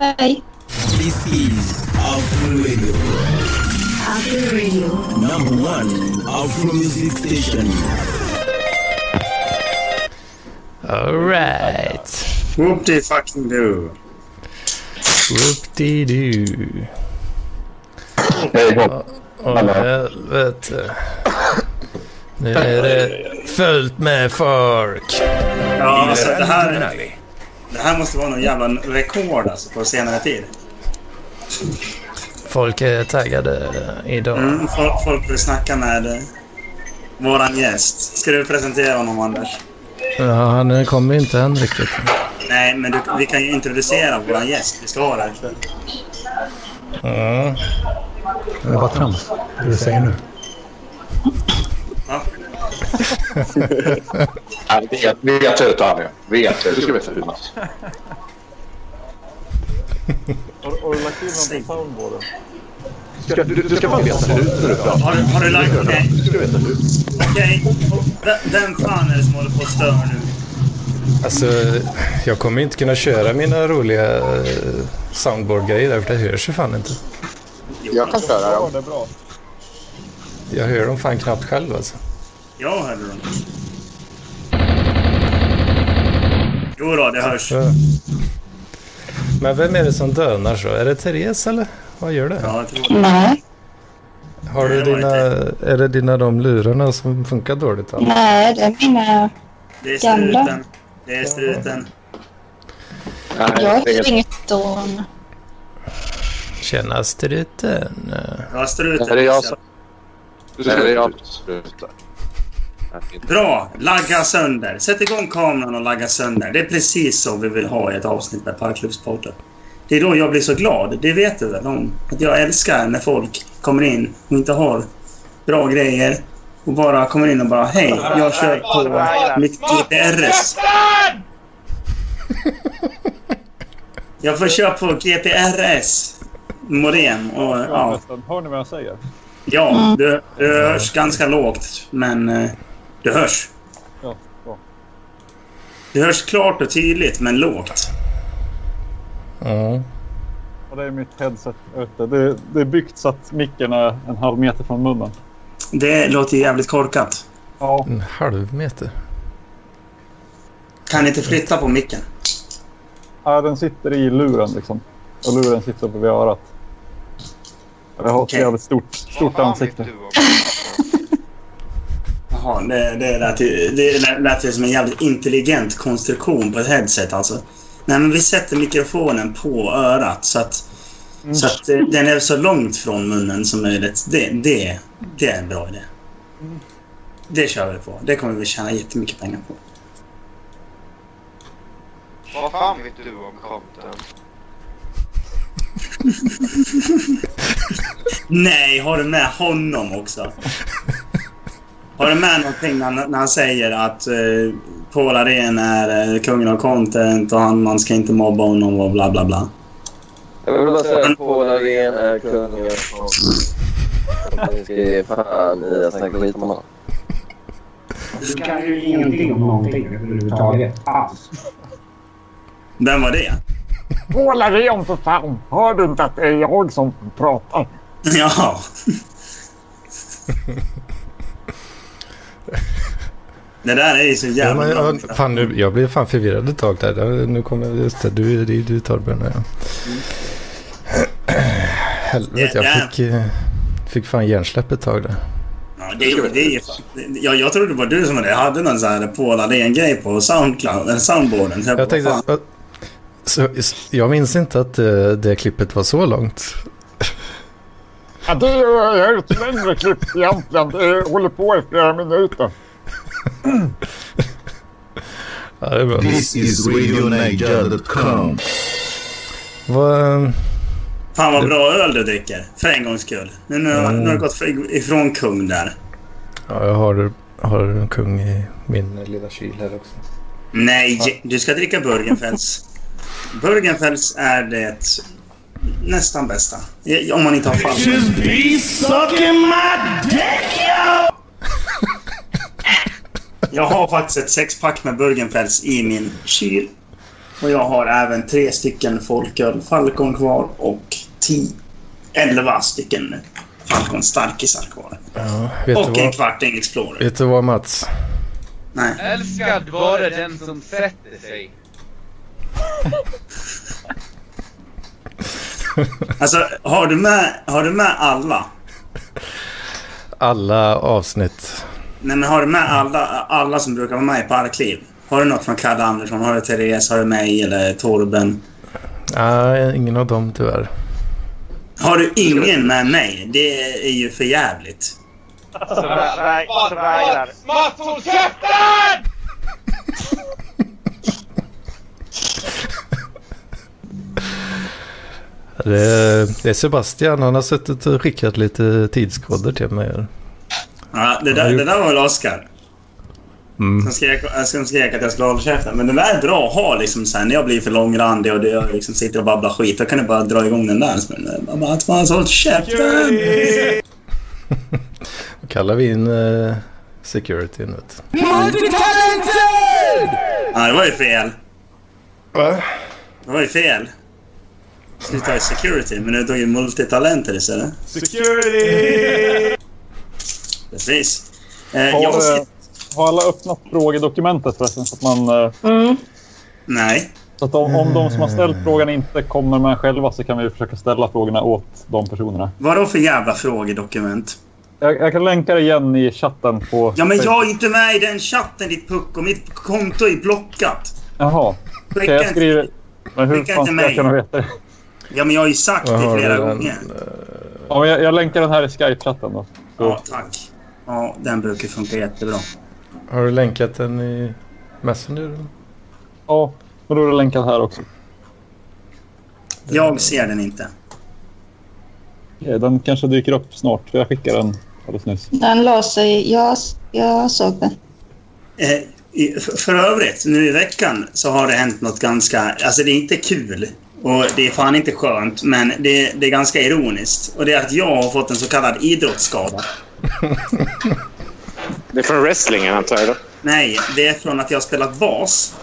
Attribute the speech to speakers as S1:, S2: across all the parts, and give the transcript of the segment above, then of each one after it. S1: Hi.
S2: This is Afro Radio.
S3: Afro Radio.
S2: Number one Afro music station.
S4: Alright.
S5: Whoopty fucking do.
S4: Whoop-dee-doo.
S6: Hej hopp.
S4: Åh helvete. Nu är det fullt med folk.
S5: Ja, alltså det här, det här måste vara någon jävla rekord alltså på senare tid.
S4: Folk är taggade idag.
S5: Mm, folk, folk vill snacka med eh, våran gäst. Ska du presentera honom Anders?
S4: Ja, nu kommer inte än riktigt.
S5: Nej, men du, vi kan ju introducera våran gäst. Vi ska ha det här ikväll.
S4: Mm.
S7: Det var trams, det du säger nu.
S5: Ja.
S6: Nej, vet- Vet ut han är. Vet ut. Du ska veta Jonas.
S8: Har, har du lagt in honom på soundboarden?
S6: Du, du, du ska fan veta ut när du pratar.
S5: Har, du- har du lagt... Okej.
S6: Du ska veta ut.
S5: Okej. V- Vem fan är det som håller på att störa nu?
S4: Alltså, jag kommer inte kunna köra mina roliga eh, soundboard-grejer där, för det hörs ju fan inte.
S9: Jag kan köra
S8: Ja,
S9: dem.
S8: det är bra.
S4: Jag hör dem fan knappt själv alltså.
S5: Jag hörde dem. Jo då, det hörs.
S4: Ja. Men vem är det som dönar så? Är det Therese eller? Vad gör det?
S5: Ja, jag tror det.
S1: Nej,
S4: Har du
S5: det var
S4: dina, är det dina de lurarna som funkar dåligt? Eller?
S1: nej, det är mina...
S5: Det är struten. Det är struten.
S1: Jag
S6: Nej, det
S1: har
S6: är-
S1: inget dån.
S4: Tjena struten.
S5: Ja, struten.
S6: Det är jag som-
S9: Du
S6: Nej,
S9: ska
S6: det är jag.
S9: ut.
S5: Bra! Lagga sönder. Sätt igång kameran och lagga sönder. Det är precis så vi vill ha i ett avsnitt med Parklubbspodden. Det är då jag blir så glad. Det vet du väl om? Att jag älskar när folk kommer in och inte har bra grejer och bara kommer in och bara Hej, jag kör på mitt GPRS. Jag får köra på GPRS modem och
S8: Ja.
S5: ja.
S8: nästan. Hör ni vad jag säger?
S5: Ja, du, du hörs ganska lågt, men eh, du hörs.
S8: Ja, bra.
S5: Du hörs klart och tydligt, men lågt.
S4: Ja.
S8: Och det är mitt headset ute. Det, det är byggt så att micken är en halv meter från munnen.
S5: Det låter jävligt korkat.
S8: Ja,
S4: En halv meter.
S5: Kan inte flytta på micken.
S8: ja, den sitter i luren liksom. Och luren sitter uppe vid örat. Jag har ett
S5: Okej.
S8: jävligt stort, stort ansikte.
S5: Jaha, det, det, lät, ju- det lät- lät ju som en jävligt intelligent konstruktion på ett headset alltså. Nej, men vi sätter mikrofonen på örat så att, så att eh, den är så långt från munnen som möjligt. Det, det, det är en bra idé. Det kör vi på. Det kommer vi tjäna jättemycket pengar på.
S9: Vad fan vet du om content?
S5: Nej, har du med honom också? Har du med någonting när, när han säger att eh, Paul Arén är eh, kungen av content och han, man ska inte mobba honom och bla bla bla?
S10: Jag vill bara säga att Paul Arén Alltså, är kung av konst. Och Ni ska ge fan i att snacka skit om honom.
S5: Du kan ju ingenting om någonting överhuvudtaget. Vem var det?
S8: Hålla dig om för fan! Hör du inte att det är jag som pratar?
S5: Jaha. Det där är ju så
S4: Ja,
S5: jävla
S4: men,
S5: bra.
S4: ja, fan, nu, jag blev fan förvirrad ett tag där. Ja, Nu kommer just det. Du, du, du Torben.
S5: Mm.
S4: Ja. Helvete, jag
S5: Yeah.
S4: fick, eh, fick fan hjärnsläpp ett tag där.
S5: Ja, det, det, är fan- jag, jag trodde det var du som hade, hade någon sån här Paul Arén-grej på Soundcloud, eller soundboarden. Så
S4: Jag
S5: bara,
S4: tänkte,
S5: fan.
S4: att- så, så- jag minns inte att det, det klippet var så långt.
S8: Ja, det är ett längre klipp egentligen. Det håller på i flera minuter.
S4: Ja, det var.
S2: This is RadioNiger.com.
S4: Vad,
S5: Fan vad bra öl du dricker. För en gångs skull. Nu, nu,
S4: Mm.
S5: nu har du gått för- ifrån kung där.
S4: ja, jag har, har en kung i min lilla kyl här också.
S5: Nej, du ska dricka Burgenfels. Burgenfels är det nästan bästa. I- Om man inte har fall.
S2: be sucking my dick, yo!
S5: Jag har faktiskt ett sexpack med Burgenfels i min kyl. Och jag har även tre stycken folköl Falcon kvar och 10, 11 stycken Falcon starkisar kvar.
S4: Ja, vet,
S5: och
S4: du
S5: en
S4: vad,
S5: kvart Explorer.
S4: vet du vad Mats?
S11: Älskad vare den som sätter sig.
S5: Alltså, har du med, har du med alla?
S4: Alla avsnitt.
S5: Nej, men har du med alla, alla som brukar vara med i Parkliv? Har du något från Kalle Andersson? Har du Therese? Har du mig eller Torben?
S4: Nej, ingen av dem tyvärr.
S5: Har du ingen med mig? Det är ju för jävligt.
S2: Svajlar. Mats, håll käften!
S4: Det är, det är Sebastian. Han har suttit och skickat lite tidskoder till mig. här.
S5: Ja, det, där, det där var väl Oscar.
S4: Mm.
S5: Som skrek, äh, som skrek att jag skulle hålla käften. Men den där är bra att ha liksom sen när jag blir för långrandig och det- jag liksom sitter och babblar skit. Då kan jag bara dra igång den där. Så, men, eh, Mats, Mats, håll käften!
S4: Då kallar vi in uh, security nu. vet du.
S2: Multitalented!
S5: Ja, det var ju fel. Va? Det var ju fel. Du tar ju security, men du tog ju multitalenter istället.
S2: Security!
S5: Precis. Eh,
S8: Har,
S5: jag
S8: eh, har alla öppnat frågedokumentet förresten? Så att man, eh,
S5: Nej.
S8: Så att om, om de som har ställt frågan inte kommer med själva så kan vi försöka ställa frågorna åt de personerna.
S5: Vadå för jävla frågedokument?
S8: Jag, jag kan länka det igen i chatten på...
S5: Ja, men jag är inte med i den chatten ditt pucko. Mitt konto är blockat.
S8: Jaha.
S5: Skicka
S8: Okej, jag
S5: inte-
S8: skriver... Men hur
S5: skicka
S8: fan ska
S5: inte
S8: jag
S5: mig.
S8: kunna veta det?
S5: Ja, men jag har ju sagt det flera gånger.
S8: Ja, men jag, jag länkar den här i Skype-chatten då.
S5: Ja, tack. Ja, den brukar funka jättebra.
S4: Har du länkat den i Messenger?
S8: Ja, men då är det länkat här också.
S5: Jag ser den inte.
S8: Okej, Den kanske dyker upp snart, för jag skickade den alldeles nyss.
S1: Den la sig. Jag, jag såg den.
S5: Eh, i- f- För övrigt, nu i veckan så har det hänt något ganska... Alltså det är inte kul och det är fan inte skönt, men det, det är ganska ironiskt. Och det är att jag har fått en så kallad idrottsskada.
S12: Det är från wrestlingen antar jag då?
S5: Nej, det är från att jag har spelat bas.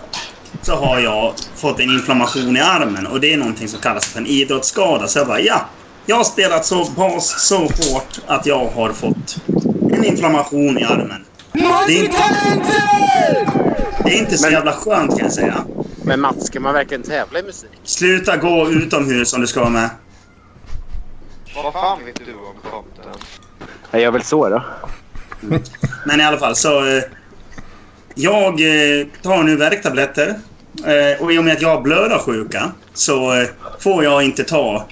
S5: Så har jag fått en inflammation i armen och det är någonting som kallas för en idrottsskada. Så jag bara, ja. Jag har spelat så bas så hårt att jag har fått en inflammation i armen. Det är inte, det är inte så jävla skönt kan jag säga.
S12: Men Mats, ska man verkligen tävla i musik?
S5: Sluta gå utomhus om du ska vara med.
S9: Vad fan vet du om tomten?
S12: Jag gör väl så då.
S5: Men i alla fall så... Eh, jag eh, tar nu värktabletter. Eh, och i och med att jag har blödarsjuka så eh, får jag inte ta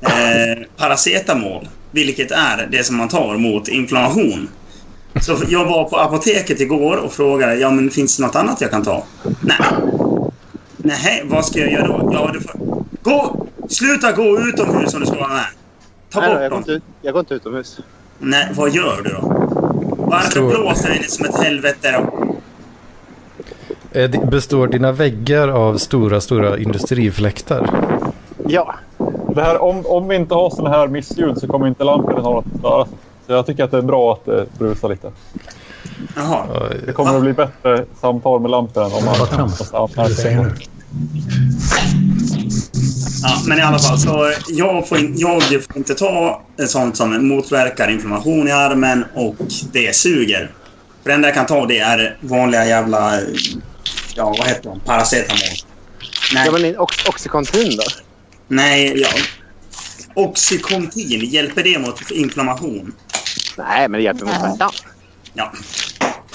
S5: eh, paracetamol. Vilket är det som man tar mot inflammation. Så jag var på apoteket igår och frågade ja men finns det något annat jag kan ta. Nej. Nej, vad ska jag göra då? Ja, du får... Gå! Sluta gå utomhus om du ska vara med. Ta
S12: Nej,
S5: bort
S12: jag, går
S5: dem.
S12: inte, ut- jag går inte utomhus.
S5: Nej, vad gör du då? Varför blåser det som ett helvete då?
S4: Eh, det- Består dina väggar av stora, stora industrifläktar?
S12: Ja.
S8: Det här, om, om vi inte har såna här missljud så kommer inte lamporna ha något att störa. Så jag tycker att det är bra att det brusar lite.
S5: Jaha.
S8: Det kommer att bli bättre samtal med lamporna om man... Vad trams.
S7: du säger nu.
S5: Ja, men i alla fall, så eh, jag får, in, jag får inte ta eh, sånt som motverkar inflammation i armen och det suger. För det enda jag kan ta det är vanliga jävla... eh, Ja, vad heter de? Paracetamol. Nej.
S12: Ja, men in- ox- Oxycontin då?
S5: Nej, ja. Oxycontin, hjälper det mot inflammation?
S12: Nej, men det hjälper mot smärtan.
S5: Ja.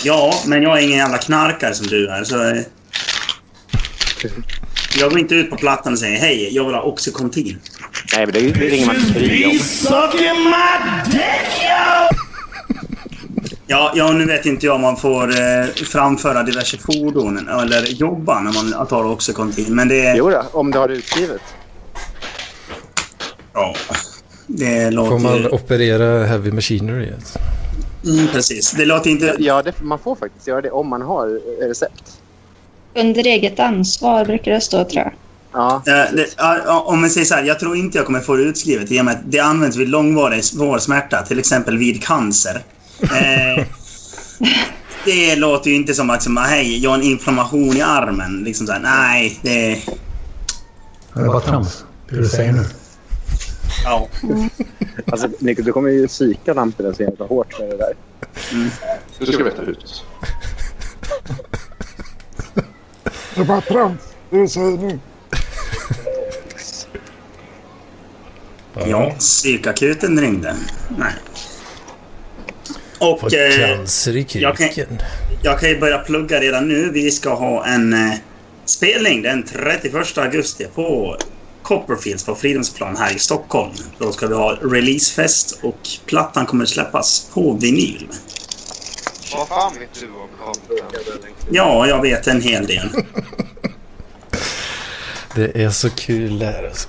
S5: Ja, men jag är ingen jävla knarkare som du är. Så... eh, Jag går inte ut på plattan och säger hej, jag vill ha Oxycontin.
S12: Nej, men det, det ringer man till Kry om.
S2: Sucking my dick, yo!
S5: Ja, ja, nu vet inte jag om man får eh, framföra diverse fordon eller jobba när man tar Oxycontin. Men det...
S12: Jo då, om du har det utskrivet.
S5: Ja. Det låter...
S4: Får man operera heavy machinery? alltså?
S5: Mm, precis. Det låter inte...
S12: Ja, det, man får faktiskt göra det om man har eh, recept.
S1: Under eget ansvar brukar det stå, tror jag.
S12: Ja.
S5: Eh, det, ja, ja, om vi säger så här, jag tror inte jag kommer få det utskrivet i och med att det används vid långvarig svår smärta, till exempel vid cancer. Eh, det låter ju inte som att som, hej, jag har en inflammation i armen. Liksom så här, nej, det...
S7: Det är bara trams, det du säger nu.
S5: Ja.
S12: Alltså, Nico, du kommer ju psyka Lampinen så jävla hårt med det där.
S5: Mm.
S6: Du ska veta ut.
S7: Det är bara trams, det du säger nu.
S5: Ja, psykakuten ringde. Nej. Och...
S4: Fått
S5: eh,
S4: cancer i
S5: jag kan,
S4: kuken.
S5: jag kan ju börja plugga redan nu. Vi ska ha en eh, spelning den 31 augusti på Copperfields på Fridhemsplan här i Stockholm. Då ska vi ha releasefest och plattan kommer släppas på vinyl.
S9: Vad fan vet du om kameran?
S5: Ja, jag vet en hel del.
S4: Det är så kul det här alltså.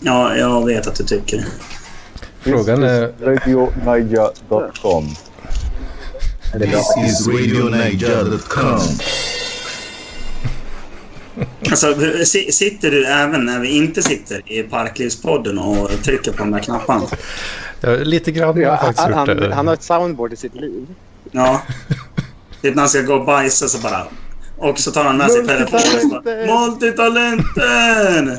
S5: Ja, jag vet att du tycker.
S4: Frågan är...
S8: RadioNaja.com.
S2: This is RadioNiger.com.
S5: Alltså, si- sitter du även när vi inte sitter i Parklivspodden och trycker på de där knapparna?
S4: Ja, lite grann har
S12: Ja,
S4: jag faktiskt
S12: han,
S4: gjort
S12: han,
S4: det.
S12: han har ett soundboard i sitt liv.
S5: Ja. Typ när han ska gå och bajsa så bara... Och så tar han med sig telefonen och så bara... Multitalenter!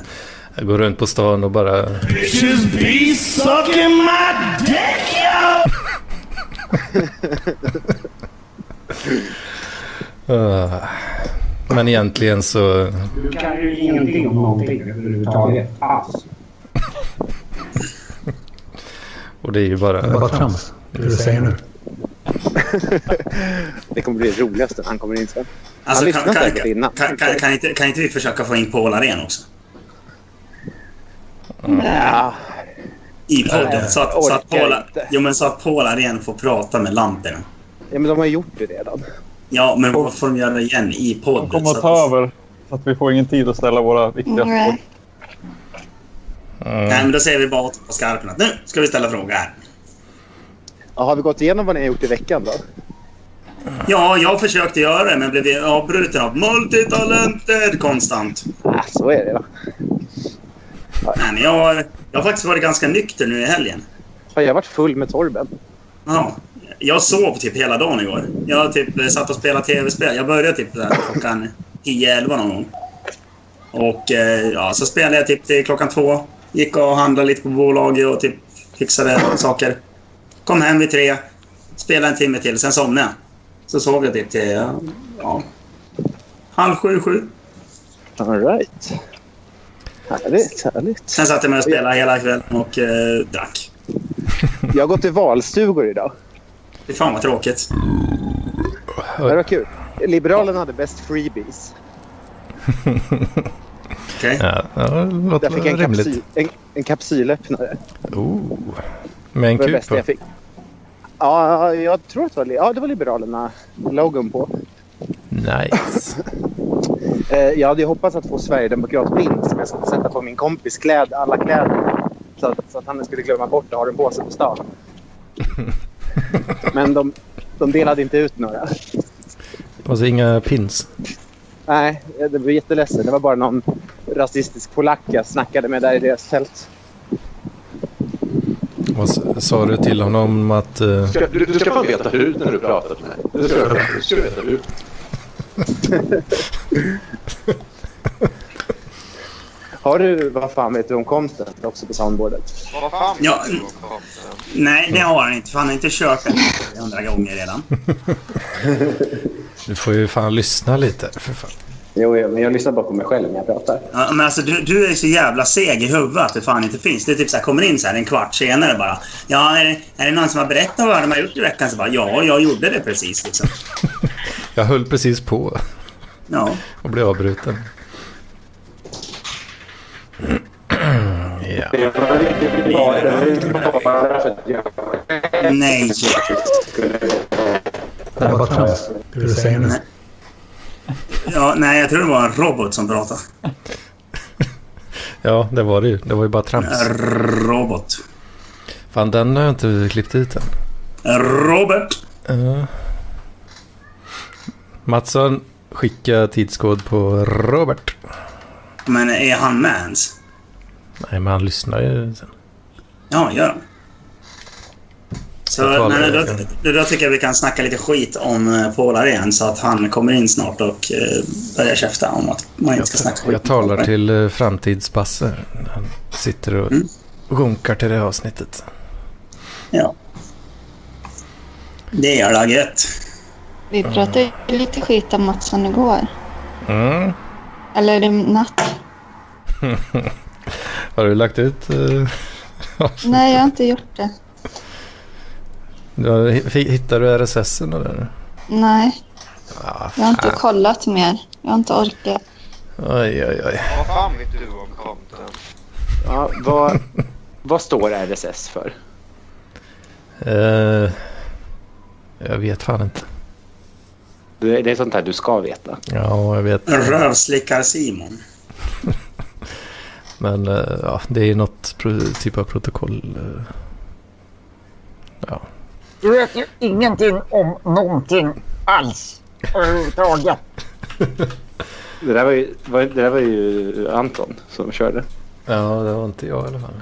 S4: Jag går runt på stan och bara...
S2: Bitches be sucking my dick, yo!
S4: ah. Men egentligen så...
S13: Du kan ju ingenting om någonting överhuvudtaget. Alls.
S4: Och det är ju bara...
S7: Det är bara trams, det du säger nu.
S12: Det kommer bli det roligaste när han kommer in sen. Han
S5: Alltså,
S12: lyssnar
S5: kan, kan,
S12: säkert
S5: kan,
S12: innan.
S5: kan, kan, kan, inte, kan inte vi försöka få in Paul Arén också?
S12: Ja.
S5: I podden. Så att, så att,
S12: Orkar
S5: Paul, jo, men så att Paul Arén får prata med lamporna.
S12: ja, men de har ju gjort det redan.
S5: Ja, men vad får de göra igen i podden?
S8: Kom
S5: Så
S8: och
S5: att-
S8: ta över. Så att vi får ingen tid att ställa våra viktiga frågor.
S5: Nej. Nej, men då säger vi bara åt på skarpen att nu ska vi ställa frågor här.
S12: Ja, har vi gått igenom vad ni har gjort i veckan då?
S5: Ja, jag försökte göra det men blev avbruten av multitalenter konstant.
S12: Ah, så är det då.
S5: Nej, men jag, har- jag har faktiskt varit ganska nykter nu i helgen.
S12: Fan, jag har varit full med Torben.
S5: Ja, jag sov typ hela dagen igår. Jag typ eh, satt och spelade tv-spel. Jag började typ där klockan 10-11 någon gång. Och eh, ja, så spelade jag typ till klockan två. Gick och handlade lite på bolaget och typ fixade saker. Kom hem vid tre. Spelade en timme till, sen somnade jag. Så sov jag typ till ja, ja, halv sju, sju.
S12: All right. Härligt, härligt.
S5: Sen satt jag med och spelade hela kvällen och eh, drack.
S12: Jag har gått till valstugor idag.
S5: Fy fan vad tråkigt.
S12: Det var kul. Liberalerna hade bäst freebies.
S4: Ja, ja, det låter
S12: Jag fick en, kapsyl,
S4: rimligt.
S12: en, en kapsylöppnare.
S4: Oh. Med en
S12: Det var det
S4: kuk
S12: bästa
S4: på.
S12: jag fick. Ja, jag tror att det var, li- ja, det var Liberalerna logon på.
S4: Nice.
S12: Eh, Jag hade ju hoppats att få Sverigedemokratbild som jag skulle sätta på min kompis kläd, alla kläder. Så att, så att han skulle glömma bort att ha den på sig på stan. Men de, de delade inte ut några.
S4: Och så inga pins.
S12: Nej, det var jätteledsen. Det var bara någon rasistisk polack jag snackade med där i deras tält.
S4: Och så, sa du till honom att... eh,
S6: Du ska, du, du ska fan veta ut när du pratar till mig. Du ska, du ska veta ut.
S12: Har du, vad fan vet du om konsten också på soundboardet?
S9: Vad fan vet
S5: Ja.
S9: du om kameran?
S5: Nej, det har han inte. För han har inte kört den hundra gånger redan.
S4: Du får ju fan lyssna lite. För fan.
S12: Jo, jo, men jag lyssnar bara på mig själv när jag pratar.
S5: Ja, men alltså, du, du är så jävla seg i huvudet att det fan inte finns. Det är typ så här, kommer in så här en kvart senare bara. Ja, är det, är det någon som har berättat vad de har gjort i veckan? Så bara, ja, jag gjorde det precis. Liksom.
S4: Jag höll precis på
S5: Ja.
S4: och blev avbruten. Ja.
S6: Det var inte bara, det var inte bara för att jag
S5: Nej.
S7: Det är bara trams, det du säger nu.
S5: Ja, nej, jag tror det var en robot som pratade.
S4: Ja, det var det ju. Det var ju bara trams.
S5: Robot.
S4: Fan, den har jag inte klippt ut än.
S5: Robert!
S4: Uh. Mattsson, skicka tidskod på Robert.
S5: Men är han med ens?
S4: Nej, men han lyssnar ju sen.
S5: Ja, gör han. Så nej, men då, då, då tycker jag vi kan snacka lite skit om eh, Polare igen så att han kommer in snart och eh, börjar käfta om att man inte ska snacka skit.
S4: Jag talar till eh, framtidsbasse. Han sitter och
S5: Mm.
S4: runkar till det här avsnittet.
S5: Ja. Det är laget.
S1: Vi pratade ju lite skit om Mattsson igår.
S4: Mm.
S1: Eller i natt.
S4: Har du lagt ut? eh,
S1: Nej, jag har inte gjort det.
S4: du har- hi- Hittar du RSS-en eller?
S1: Nej,
S4: Ja,
S1: jag har inte
S4: fan.
S1: kollat mer. Jag har inte orkat.
S4: Oj, oj, oj.
S9: Vad fan vet du om content?
S12: Ja, vad, vad står RSS för?
S4: Eh, jag vet fan inte.
S12: Det det är sånt här du ska veta.
S4: Ja, jag vet.
S5: Rövslickar-Simon.
S4: Men eh, ja, det är något pro- typ av protokoll. eh. Ja.
S7: Du vet ju ingenting om någonting alls. Överhuvudtaget.
S12: Det där var ju, var, det där var ju Anton som körde.
S4: ja, det var inte jag i alla fall.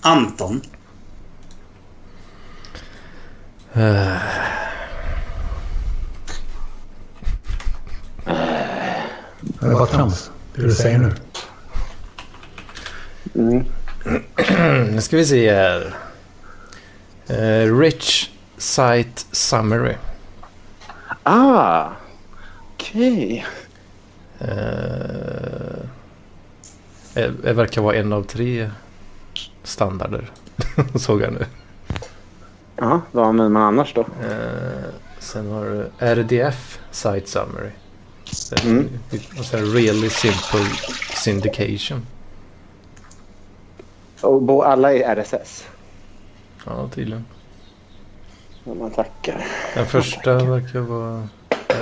S5: Anton.
S4: Eh,
S13: Det var trams, det du säger nu.
S12: Mm.
S4: nu ska vi se här. Eh, rich Site Summary.
S12: Ah, okej.
S4: Eh, eh, det verkar vara en av tre standarder. Såg jag nu.
S12: Ja, vad använder man annars då?
S4: Eh, sen har du RDF Site Summary. Sen,
S12: Mm.
S4: Och sen Alltså, Really Simple Syndication.
S12: Och bo- alla är RSS.
S4: Ja, tydligen.
S12: Ja, man tackar.
S4: Den första verkar vara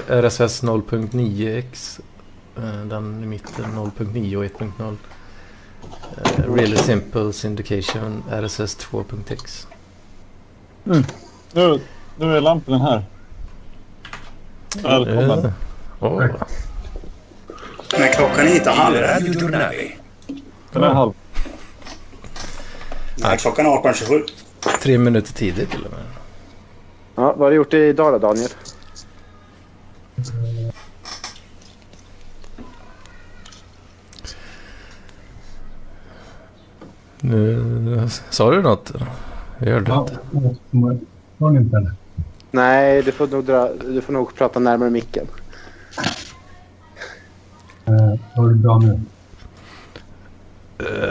S4: RSS 0.9x. eh, Den i mitten 0.9 och 1.0. Eh, Really Simple Syndication RSS 2.x.
S8: Nu, nu är lampen här. Välkommen.
S4: Eh, åh.
S5: Men klockan är inte halv.
S8: Den är halv.
S5: Nej, klockan är 18.27.
S4: Tre minuter tidigt till och med.
S12: Ja, vad har du gjort idag då, Daniel?
S4: Nu, sa du något? Jag hörde inte.
S13: Var ni inte eller?
S12: Nej, du får nog, dra, du får nog prata närmare micken.
S13: Eh, Var det bra nu?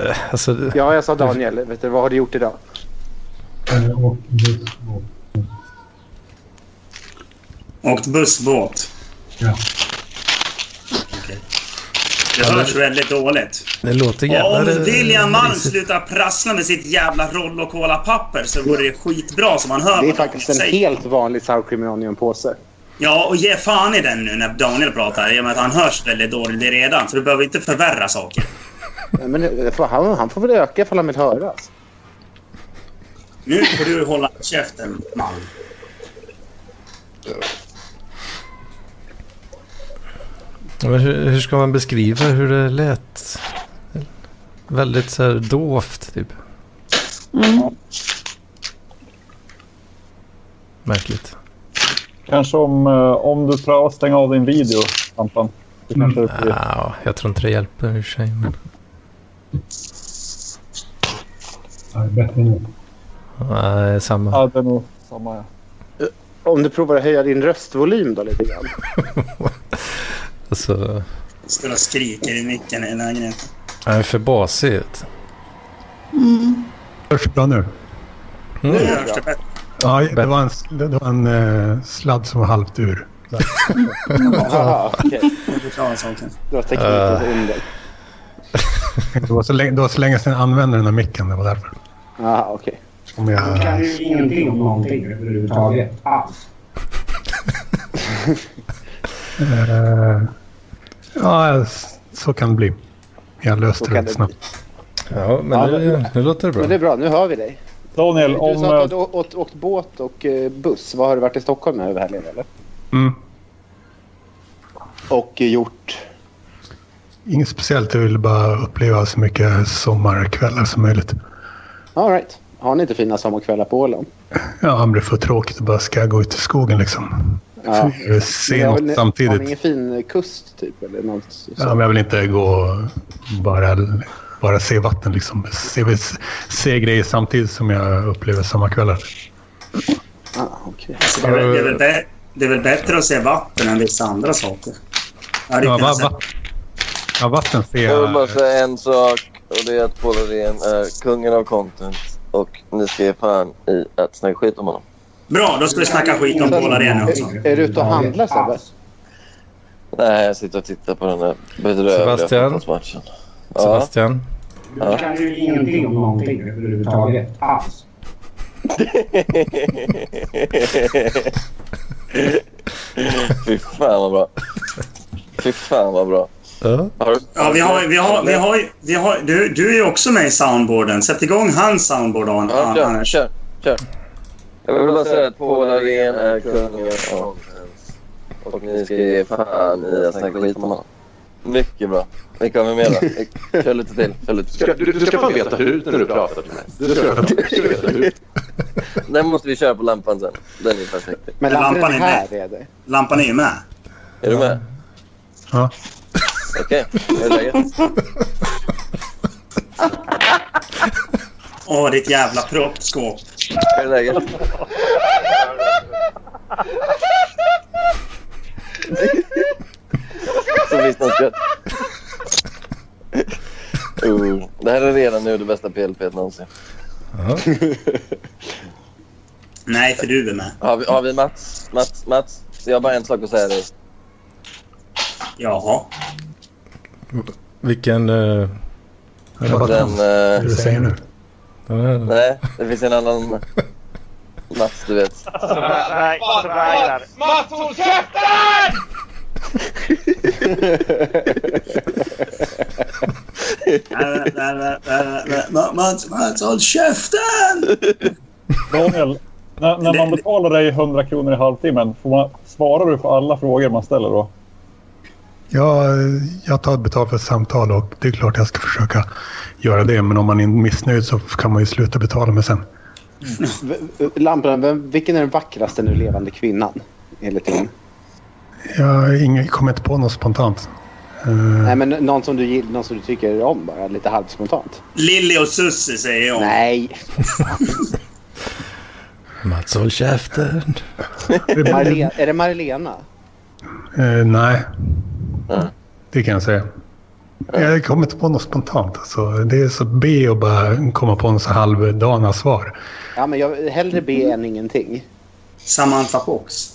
S4: Eh, Alltså, det-
S12: Ja, jag sa Daniel. Vet du, vad har du gjort idag?
S13: Eh, Och buss och...
S5: Åkt bussbåt.
S13: Ja.
S5: Det hörs väldigt dåligt.
S4: det låter
S5: Om
S4: jävla...
S5: William Malm slutar prassla med sitt jävla roll och kolapapper så vore det skitbra som man hör
S12: Det är
S5: vad han
S12: faktiskt en
S5: säger.
S12: helt vanlig Sour Cream and Onion-påse.
S5: Ja, och ge fan i den nu när Daniel pratar i och med att han hörs väldigt dåligt redan. Så du behöver inte förvärra saker.
S12: Nej, Men det får, han, han får väl öka ifall han vill alltså. höras.
S5: Nu får du hålla käften, Malm.
S4: Men hur, hur ska man beskriva hur det lät? Väldigt så här dovt typ. Märkligt.
S8: Kanske om, eh, om du prövar att stänga av din video, Anton. Det kanske
S7: Mm.
S8: blir...
S4: Ja, jag tror inte det hjälper i och för sig. Men...
S13: Ja, det är bättre nu.
S4: Nej, samma.
S8: Ja, det är nog samma. ja.
S12: Eh, Om du provar att höja din röstvolym då lite grann.
S4: Alltså,
S5: Står och skriker i micken i lägenheten.
S4: jag är för basig. vet
S13: Hörs det bra nu?
S4: du.
S5: Nu
S4: Mm.
S5: hörs det bättre.
S13: Ja, det var en, sl- det var en eh, sladd som var halvt ur.
S12: Jaha, okej.
S5: Nu förklarar saken.
S12: Det var teknikens
S13: Eh.
S12: under.
S13: Det var, så länge, det var så länge sedan jag använde den här micken. Det var därför.
S12: Jaha, Ah, okej.
S13: Om jag... Jag kan kan ju ingenting om någonting överhuvudtaget. Alls. Eh, ja, s- så kan det bli. Jag löste
S12: Så kan
S13: det
S12: det
S13: snabbt.
S4: Ja, men nu, nu låter det
S12: Men det
S4: bra.
S12: är bra, nu hör vi dig.
S8: Daniel,
S12: Du sa att
S8: om...
S12: du hade
S8: eh,
S12: å- åkt, åkt båt och eh, buss. Vad har du varit i Stockholm nu över helgen eller?
S13: Mm.
S12: Och eh, gjort...
S13: Inget speciellt. Jag ville bara uppleva så mycket sommarkvällar som möjligt.
S12: All right. Har ni inte fina sommarkvällar på Åland?
S13: Ja, han blir för tråkigt att bara ska gå ut i skogen liksom.
S12: Ja.
S13: Jag vill se
S12: Men har
S13: något
S12: ni- Har ni
S13: samtidigt.
S12: ingen fin kust typ? Eller något så-
S13: Ja, men jag vill inte gå och bara, bara se vatten liksom. Se, se grejer samtidigt som jag upplever sommarkvällar.
S12: Ah, okej.
S5: Alltså, Det är, väl, det, är väl bä- det är väl bättre att se vatten än vissa andra saker. Jag hade
S13: Ja,
S5: kunnat
S13: va,
S5: se-
S13: va, ja, vatten ser
S10: Jag vill bara
S13: jag.
S10: säga en sak och det är att Paul Redén är kungen av content och ni ska ge fan i att snacka skit om honom.
S5: Bra, då ska vi snacka skit om Paul Arena också.
S12: Är du ute och handlar Sebbe?
S10: Nej, jag sitter och tittar på den här bedrövliga
S4: Sebastian?
S10: fotbollsmatchen. Ja.
S4: Sebastian?
S10: Ja.
S14: kan ju ingenting om någonting överhuvudtaget. Alls.
S10: Fy fan vad bra. Fy fan vad bra. Har du-
S5: Ja, vi har, vi har, vi har, vi har, du, du är ju också med i soundboarden. Sätt igång hans soundboard, An-
S10: Ja,
S5: An-
S10: kör,
S5: Anders.
S10: kör, kör. Jag vill bara säga att Paul Arén är kungen av content. Och ni ska ge fan i att snacka skit om honom. Mycket bra. Vi kommer med då. Kör lite till. Kör lite
S6: Ska-
S10: till.
S6: du- du ska fan veta hut när du pratar till mig. Du ska- du ska veta hut.
S10: Den måste vi köra på lampan sen. Den är perfekt.
S5: Men lampan är med.
S12: Är det?
S5: Lampan är ju med.
S10: Är du med?
S13: Ja.
S10: Okej, hur är läget?
S5: Åh, ditt jävla proppskåp.
S10: Hur är läget? Så visst något gött. Uh, det här är redan nu det bästa PLP någonsin.
S5: Nej, för du är med.
S10: Har vi, har vi Mats? Mats? Mats? Jag har bara en sak att säga dig.
S5: Jaha.
S4: Vilken... Uh...
S10: Den, eh, Vad är det du säger
S13: nu?
S10: Nej, det finns en annan Mats, du vet.
S11: Mats, Mats, håll käften!
S5: Nej, nej, nej, nej, nej. Ma- Mats, Mats, håll käften!
S8: Daniel, när, när man betalar dig 100 kronor i halvtimmen, får man, svarar du på alla frågor man ställer då?
S13: Ja, jag tar betalt för ett samtal och det är klart jag ska försöka göra det. Men om man är missnöjd så kan man ju sluta betala mig sen.
S12: V- v- Lampan, vem, vilken är den vackraste nu levande kvinnan? Enligt din?
S13: Jag ingen, kommer inte på något spontant. Eh.
S12: Nej, men någon som, du, gill- någon som du tycker om bara, lite halvspontant.
S5: Lilly och Susie säger jag.
S12: Nej.
S4: Mats håll käften.
S12: Marle- är det Marilena?
S13: Eh, nej, det kan jag säga. Jag kommer inte på något spontant. Alltså. Det är så B att bara komma på något så halvdana svar.
S12: Ja, men jag hellre be än ingenting.
S5: Samantha Fox.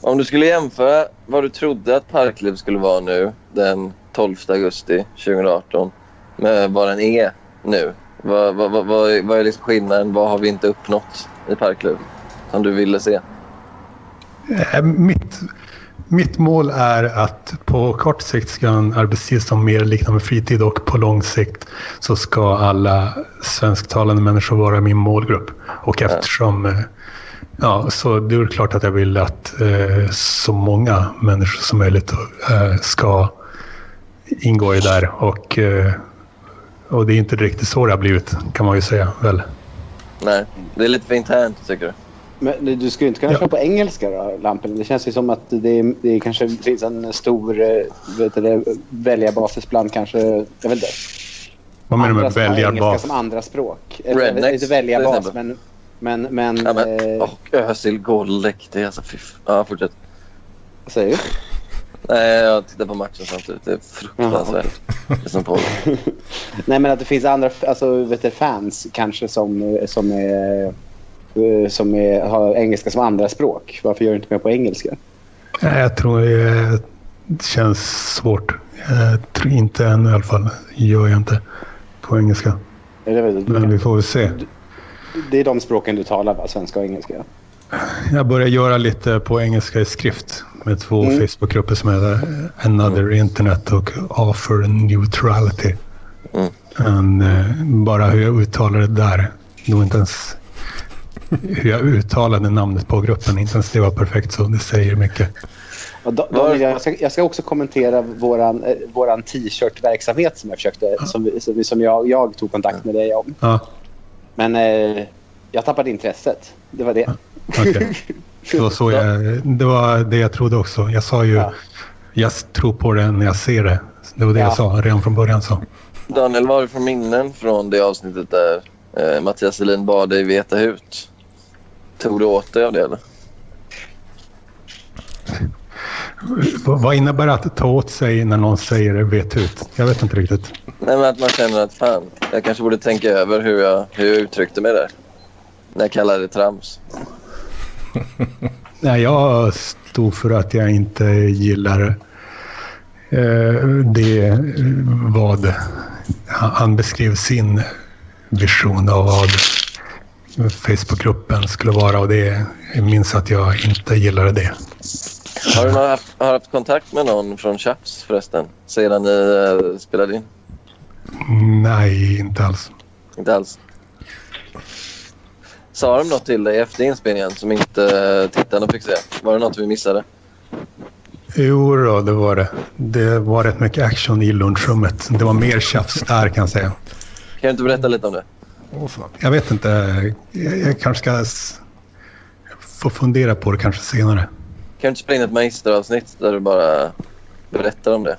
S10: Om du skulle jämföra vad du trodde att Parkliv skulle vara nu den 12 augusti 2018 med vad den är nu. Vad, vad, vad, vad, är- vad är liksom skillnaden? Vad har vi inte uppnått i Parkliv som du ville se?
S13: Eh, Mitt, mitt mål är att på kort sikt ska en arbetstid som mer liknar min fritid och på lång sikt så ska alla svensktalande människor vara min målgrupp. Och eftersom... eh, Ja, så det är klart att jag vill att eh, så många människor som möjligt eh, ska ingå i det där. Och, eh, och det är inte riktigt så det har blivit, kan man ju säga. Väl?
S10: Nej, det är lite för internt tycker du.
S12: Men du skulle inte kunna köra på engelska då, Lampen? Det känns ju som att det, är, det är kanske finns en stor eh, vet du, det, väljarbasis bland kanske... Jag vet inte.
S13: Vad menar du med
S12: som har engelska
S13: väljarbas?
S12: som andra språk.
S10: Rednecks,
S12: Eller, inte väljarbas,
S10: till exempel.
S12: men... Men, men,
S10: Ja, men,
S12: eh,
S10: och Özil Golek, det är alltså fy f- Ja, fortsätt.
S12: Vad säger du?
S10: Nej, jag tittar på matchen samtidigt. Det är fruktansvärt. Det som pågår.
S12: Nej, men att det finns andra alltså, vet du, fans kanske som, som, är, eh, som är, har engelska som andra språk. Varför gör du inte mer på engelska?
S13: Nej, jag tror eh, det känns svårt. Jag tror inte ännu i alla fall. Gör jag inte. På engelska.
S12: Eller, vet du,
S13: Men vi får väl se.
S12: det är de språken du talar, va? Svenska och engelska.
S13: Jag börjar göra lite på engelska i skrift med två
S12: Mm.
S13: Facebookgrupper som heter Another Internet och Offer Neutrality. Men, eh, bara hur jag uttalar det där. Det var inte ens hur jag uttalade namnet på gruppen. Inte ens det var perfekt så det säger mycket.
S12: Och då, Daniel, jag, ska, jag ska också kommentera våran, eh, våran t-shirt-verksamhet som jag försökte, som, vi- som, vi- som jag, jag tog kontakt med dig om.
S13: Ja.
S12: Men eh, jag tappade intresset. Det var det.
S13: Okej. Det var så jag, det var det jag trodde också. Jag sa ju, jag tror på det när jag ser det. Det var det jag
S10: Ja.
S13: sa redan från början. Så.
S10: Daniel, vad har du för minnen från det avsnittet där eh, Mattias Selin bad dig veta hut? Tog du åt dig av det eller?
S13: Vad vad innebär att ta åt sig när någon säger vet ut? Jag vet inte riktigt.
S10: Nej, men att man känner att fan, jag kanske borde tänka över hur jag, hur jag uttryckte mig där. När jag kallade det trams.
S13: Nej, jag stod för att jag inte gillar eh, det eh, vad han han beskrev sin vision av vad Facebookgruppen skulle vara och det jag minns att jag inte gillade det.
S10: Har du någon haft, har haft kontakt med någon från Chaps förresten? Sedan ni eh, spelade in?
S13: Nej, inte alls.
S10: Inte alls. Sa de något till dig efter inspelningen som inte eh, tittarna fick se? Var det något vi missade?
S13: Jo då, det var det. Det var rätt mycket action i lunchrummet. Det var mer tjafs där kan jag säga.
S10: Kan du inte berätta lite om det?
S13: Jag vet inte. Jag, jag kanske ska s- få fundera på det kanske senare.
S10: Kan du inte spela in ett magisteravsnitt där du bara berättar om det?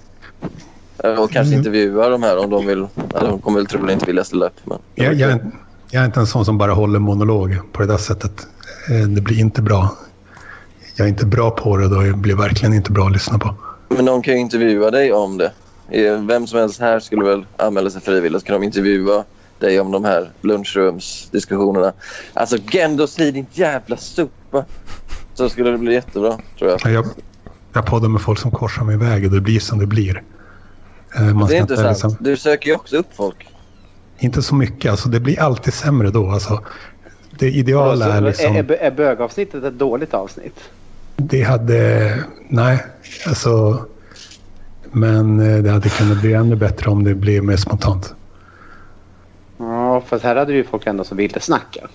S10: Eh, Och kanske intervjua de här om de vill. Ja, de kommer väl troligen inte vilja ställa upp. Men...
S13: Jag, jag, är inte- jag är inte en sån som bara håller monolog på det där sättet. Eh, Det blir inte bra. Jag är inte bra på det då. Det blir verkligen inte bra att lyssna på.
S10: Men någon kan ju intervjua dig om det. Eh, Vem som helst här skulle väl anmäla sig frivilligt. Så kan de intervjua dig om de här lunchrumsdiskussionerna. Alltså Gendo, säg din jävla sopa. Så skulle det bli jättebra, tror jag.
S13: Jag, jag poddar med folk som korsar min väg och det blir som det blir. Eh, Man
S10: Det
S13: ska
S10: är
S13: inte
S10: inte sant.
S13: liksom-
S10: Du söker ju också upp folk.
S13: Inte så mycket. Alltså, det blir alltid sämre då. Alltså, det ideala är liksom...
S12: Alltså, är, är eh, bögavsnittet ett dåligt avsnitt?
S13: Det hade... Nej, alltså... Men eh, det hade kunnat bli ännu bättre om det blev mer spontant.
S12: Ja, fast här hade du ju folk ändå som ville snacka.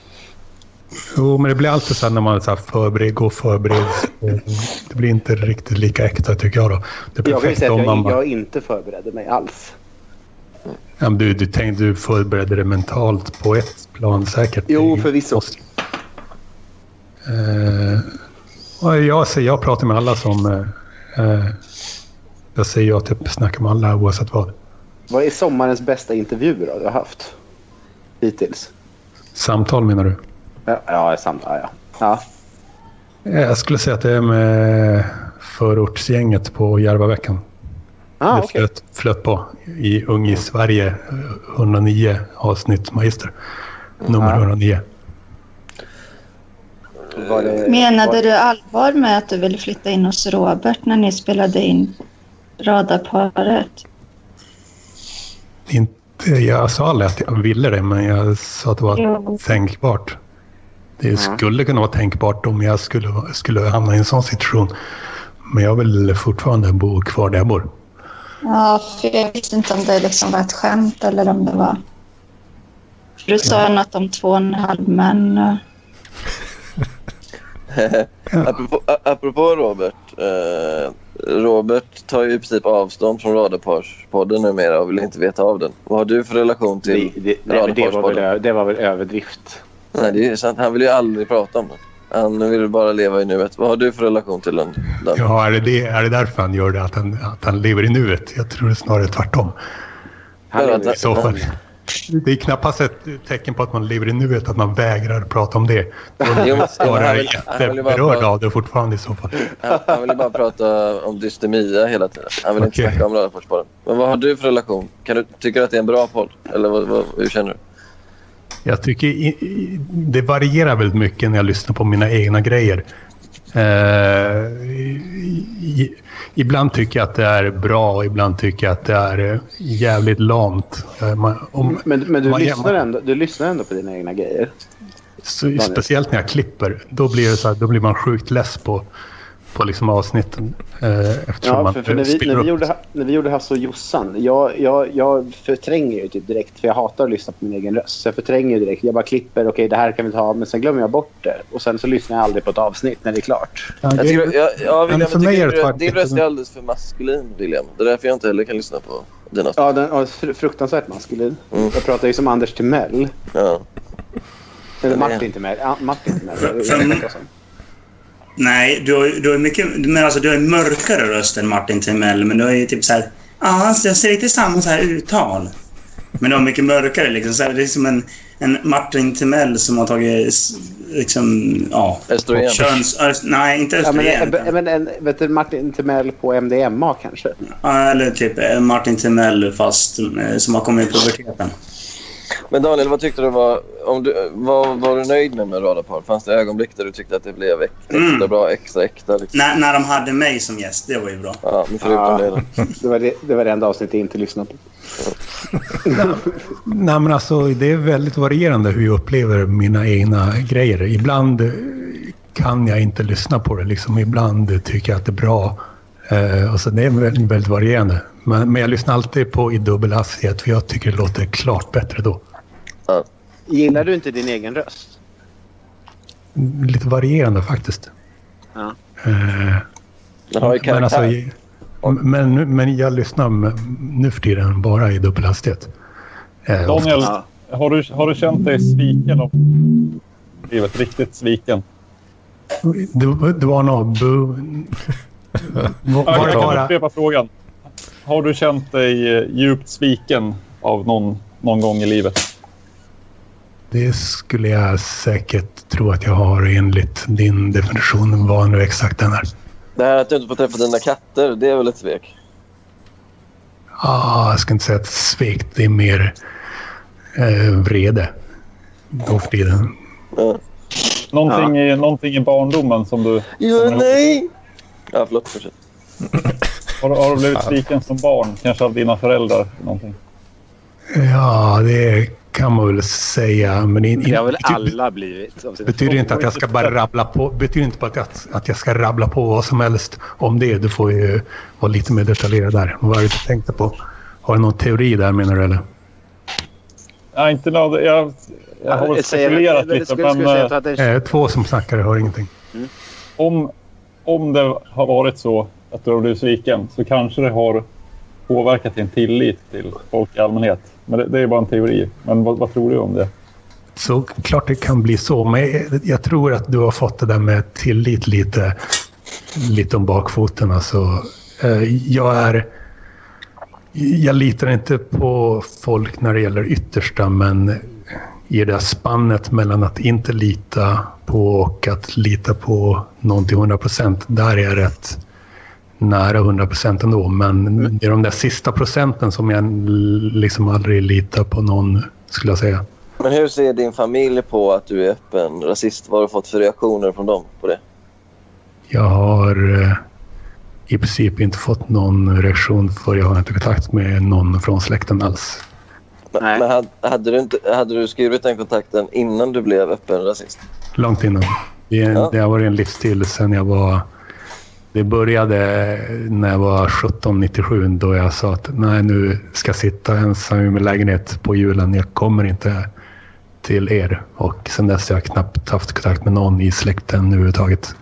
S13: Jo, men det blir alltid så här när man så här förbered, går och förbereds. eh, Det blir inte riktigt lika äkta tycker jag då. Det är
S12: Jag kan ju
S13: perfekt
S12: säga
S13: om
S12: att
S13: man
S12: jag,
S13: bara...
S12: jag inte förberedde mig alls.
S13: Ja, men du, du, tänkte, du förberedde dig mentalt på ett plan säkert. Jo,
S12: förvisso.
S13: Eh, och jag, säger, jag pratar med alla som... eh, Eh, jag säger jag typ snackar med alla oavsett vad.
S12: Vad är sommarens bästa intervju då du har haft? Hittills?
S13: Samtal menar du?
S12: Ja, ja, sam- ja, ja. ja.
S13: Eh, Jag skulle säga att det är med förortsgänget på Järvaveckan.
S12: Ah,
S13: det
S12: okej.
S13: flöt, flöt på i Ung i Sverige, eh, 109 avsnitt magister.
S12: Ah.
S13: Nummer 109.
S12: Var det,
S1: Menade
S12: var-
S1: du allvar med att du ville flytta in hos Robert när ni spelade in radarparet?
S13: Inte, jag sa aldrig att jag ville det, men jag sa att det var
S1: Jo.
S13: tänkbart. Det
S12: Mm.
S13: skulle kunna vara tänkbart om jag skulle, skulle hamna i en sån situation. Men jag vill fortfarande bo kvar där jag bor.
S1: Ja, för jag visste inte om det liksom var ett skämt eller om det var... Du sa något om två och en halv män. och-
S10: apropå, a- apropå Robert. Eh, Robert tar ju i princip avstånd från Radarparspodden numera och vill inte veta av den. Vad har du för relation till
S12: det, det, nej, men det, var väl, ö- det var väl överdrift.
S10: Nej, det är sant. Han vill ju aldrig prata om den. Han vill bara leva i nuet. Vad har du för relation till den? den?
S13: Ja, är det, det, är det därför han gör det? Att han, att han lever i nuet? Jag tror det är snarare tvärtom. I så fall. Det är knappast ett tecken på att man lever i nuet att man vägrar prata om det. Då
S10: Jo,
S13: är
S10: men- jo,
S13: man
S10: men han
S13: snarare
S10: vill- han vill bara
S13: jätteberörd
S10: prata-
S13: av det fortfarande i så fall.
S10: Han, han vill ju bara prata om dystemia hela tiden. Han vill inte
S13: Okej.
S10: snacka om Radarparspodden. Men vad har du för relation? Kan du, tycker du att det är en bra podd? Eller vad, vad, hur känner du?
S13: Jag tycker i, i, det varierar väldigt mycket när jag lyssnar på mina egna grejer. Eh, i, i, ibland tycker jag att det är bra och ibland tycker jag att det är eh, jävligt lamt. Eh, man, om,
S12: Men, men du,
S13: man-
S12: lyssnar ändå, du lyssnar ändå på dina egna grejer.
S13: Så, speciellt när jag klipper. Då blir, det så här, då blir man sjukt less på, på liksom avsnitten. Eh, eftersom
S12: Ja,
S13: man
S12: för, för
S13: eh,
S12: när, vi,
S13: spiller
S12: när, vi
S13: upp.
S12: gjorde, ha- när vi gjorde Hasse och Jossan, jag, jag, jag förtränger ju typ direkt för jag hatar att lyssna på min egen röst. Så jag förtränger ju direkt. Jag bara klipper, okej det här kan vi ta, men sen glömmer jag bort det. Och sen så lyssnar jag aldrig på ett avsnitt när det är klart.
S13: Ja,
S10: Jag tycker, jag, ja, William,
S12: men
S10: jag
S12: för mig är det
S10: tycker du,
S12: tvärtom.
S10: din röst är alldeles för maskulin, William. Det är därför jag inte heller kan lyssna på dina
S12: Ja, den, ja, fr- fruktansvärt maskulin. Jag pratar ju som Anders Timell.
S10: Mm. Ja.
S12: Eller Martin inte med. Ja, Martin inte med.
S5: För- för- Nej, du har, ju- du har ju mycket... Men alltså, du har ju mörkare röst än Martin Timell, men du har ju typ så här... Ja, han ser lite samma så här uttal. Men de är mycket mörkare. Liksom. Så här, det är som en, en Martin Timell som har tagit... s- Liksom, ja.
S10: Östrogen.
S5: Köns, öst, nej, inte
S12: Ja, men,
S5: östrogen.
S12: eh, men en, vet du, Martin Timell på MDMA kanske?
S5: Ja, Eller typ eh, Martin Timell fast eh, som har kommit i puberteten.
S10: Men Daniel, vad tyckte du var... Om du, vad, var du nöjd med med radarpar? Fanns det ögonblick där du tyckte att det blev ek- extra bra, extra äkta? Liksom?
S5: Mm. När, när de hade mig som gäst, det var ju bra.
S10: Ja, men förutom
S12: Ja.
S10: det då.
S12: Det var det, det var det enda avsnittet jag inte lyssnade på.
S10: Mm.
S13: Nej, men alltså, det är väldigt varierande hur jag upplever mina egna grejer. Ibland eh, kan jag inte lyssna på det. Liksom. Ibland tycker jag att det är bra. Eh, och så det är väldigt, väldigt varierande. Men, men jag lyssnar alltid på i dubbel hastighet för jag tycker det låter klart bättre då.
S12: Gillar du inte din egen röst?
S13: Lite varierande faktiskt.
S12: Ja.
S13: Eh,
S10: Den har ju
S13: men, alltså,
S10: karaktär.
S13: i- men, nu- men jag lyssnar med- nu för tiden bara i dubbel hastighet. Eh,
S8: Daniel,
S13: oftast.
S8: har du, har du känt dig sviken av livet? Riktigt sviken?
S13: Det, var- det var nog... Bu... Var,
S8: Ja,
S13: var det
S8: jag kan
S13: bara...
S8: upprepa frågan. Har du känt dig eh, djupt sviken av någon, någon gång i livet?
S13: Det skulle jag säkert tro att jag har enligt din definition. Vad nu exakt den är.
S10: Det här att du inte får träffa dina katter, det är väl ett svek?
S13: Ah, jag ska inte säga att svek. Det är mer eh, vrede. Då för tiden.
S8: Någonting, i, någonting i barndomen som du...
S10: Jo, nej! Ja, förlåt. Fortsätt.
S8: Har, har du blivit
S13: Fan.
S8: sviken som barn? Kanske av dina föräldrar? Någonting.
S13: Ja, det kan man väl säga. Men in, in,
S12: Det har väl
S13: bety-
S12: alla blivit. av sina
S13: betyder inte att jag ska bara rabbla på. Betyder inte bara att, jag- att jag ska rabbla på vad som helst om det. Du får ju vara lite mer detaljerad där. Vad är det du tänkte på? Har du någon teori där menar du eller?
S8: Nej, inte något. Jag, jag har väl
S12: Jag säger-
S8: spekulerat
S12: eller
S8: lite.
S12: skulle-
S8: men,
S12: skulle säga
S8: eh,
S12: att det
S13: Eh, två som snackar, jag hör ingenting. Eh,
S8: om, om det har varit så att du har blivit sviken så kanske det har påverkat din tillit till folk i allmänhet. Men det, det är bara en teori. Men vad, vad tror du om det?
S13: Så klart det kan bli så, men jag- jag tror att du har fått det där med tillit lite, lite om bakfoten. Alltså, eh, jag, är, jag litar inte på folk när det gäller yttersta, men i det där spannet mellan att inte lita på och att lita på någon till 100 procent, där är jag rätt nära 100 procent ändå. Men det är de där sista procenten som jag liksom aldrig litar på någon, skulle jag säga.
S10: Men hur ser din familj på att du är öppen rasist? Vad har du fått för reaktioner från dem på det?
S13: Jag har eh, i princip inte fått någon reaktion för jag har inte kontakt med någon från släkten alls.
S10: Men, men hade, hade, du inte, hade du skurit den kontakten innan du blev öppen rasist?
S13: Långt innan. Det, är en, det har varit en livsstil sedan jag var... Det började när jag var 1797 då jag sa att nej, nu ska jag sitta ensam i min lägenhet på julen. Jag kommer inte till er. Och sen dess har jag knappt haft kontakt med någon i släkten överhuvudtaget.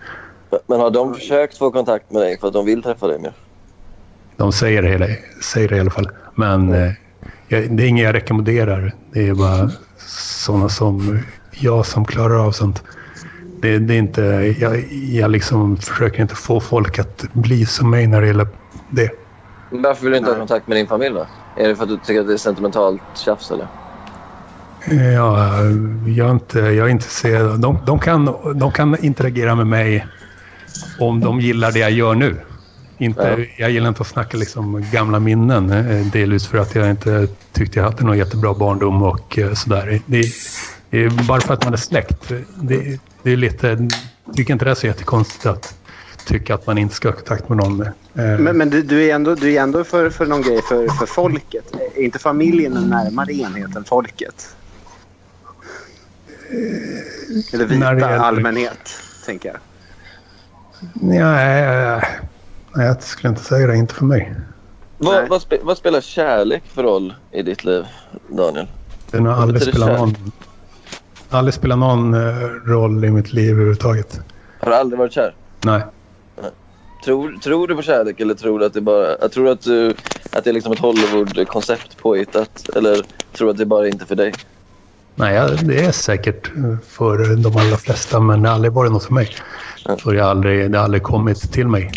S10: Men- Men har
S5: Mm.
S10: de försökt få kontakt med dig för att de vill träffa dig mer?
S13: De säger det, hela, säger det i alla fall. Men eh, jag, det är inget jag rekommenderar. Det är bara sådana som jag som klarar av sånt. Det, det är inte, jag, jag liksom försöker inte få folk att bli som mig när det gäller det.
S10: Men Varför vill du inte ha kontakt med din familj då? Är det för att du tycker att det är sentimentalt tjafs eller?
S13: Ja, jag är inte, jag är intresserad. av- De, de, kan, de kan interagera med mig om de gillar det jag gör nu. Inte, Jag gillar inte att snacka liksom gamla minnen. eh, Delvis för att jag inte tyckte jag hade någon jättebra barndom och eh, sådär. Det, det är bara för att man är släkt. Det, det är lite... tycker inte det är så jättekonstigt att tycka att man inte ska ha kontakt med någon. eh,
S12: Men, men du, du är ändå, du är ändå för, för någon grej för, för folket. Är inte familjen en närmare enhet än folket?
S13: När
S12: Eller vita
S13: det gäller-
S12: allmänhet, tänker jag.
S13: Nej, eh, nej, jag skulle inte säga det. Inte för mig.
S10: Vad, vad, spe, vad spelar kärlek för roll i ditt liv, Daniel?
S13: Den har
S10: Vad
S13: aldrig
S10: betyder
S13: spelat
S10: kärlek?
S13: någon, aldrig spelat någon eh, roll i mitt liv överhuvudtaget.
S10: Har du aldrig varit kär?
S13: Nej.
S10: Tror, tror du på kärlek eller tror du att det bara... Jag tror att, du, att det är liksom ett Hollywood-koncept påhittat? Eller tror du att det bara är inte för dig?
S13: Nej, jag- det är säkert eh, för de allra flesta, men det har aldrig varit något för mig. För jag har aldrig, det har aldrig kommit till mig.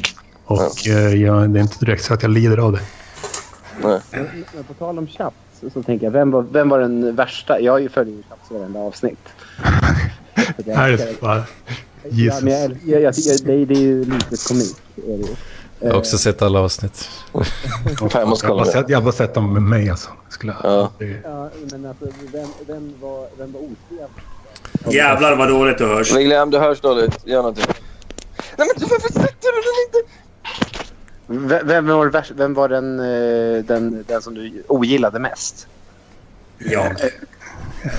S13: Och eh, jag, det är inte direkt så att jag lider av det.
S12: Men på tal om chaps så, så tänker jag, vem var, vem var den värsta? Jag har ju följer ju chaps i varenda avsnitt. För det-
S13: Här är det bara...
S12: Ja,
S13: Jesus.
S12: men jag, jag, jag, jag, det, det är ju lite komik. Är det ju.
S4: Jag har också sett alla avsnitt.
S10: Fan, jag måste kolla
S13: har
S10: det.
S13: sett, jag har bara sett dem med mig alltså. Skulle jag.
S10: Ja.
S12: Ja, men alltså, vem, vem var, vem var otrevlig?
S5: Jävlar vad dåligt du hörs.
S10: William, du hörs dåligt. Gör någonting. Nej men varför sätter du den inte?
S12: Vem, vem var, värst- vem var den, eh, den, den som du ogillade mest? Eh,
S5: Jag.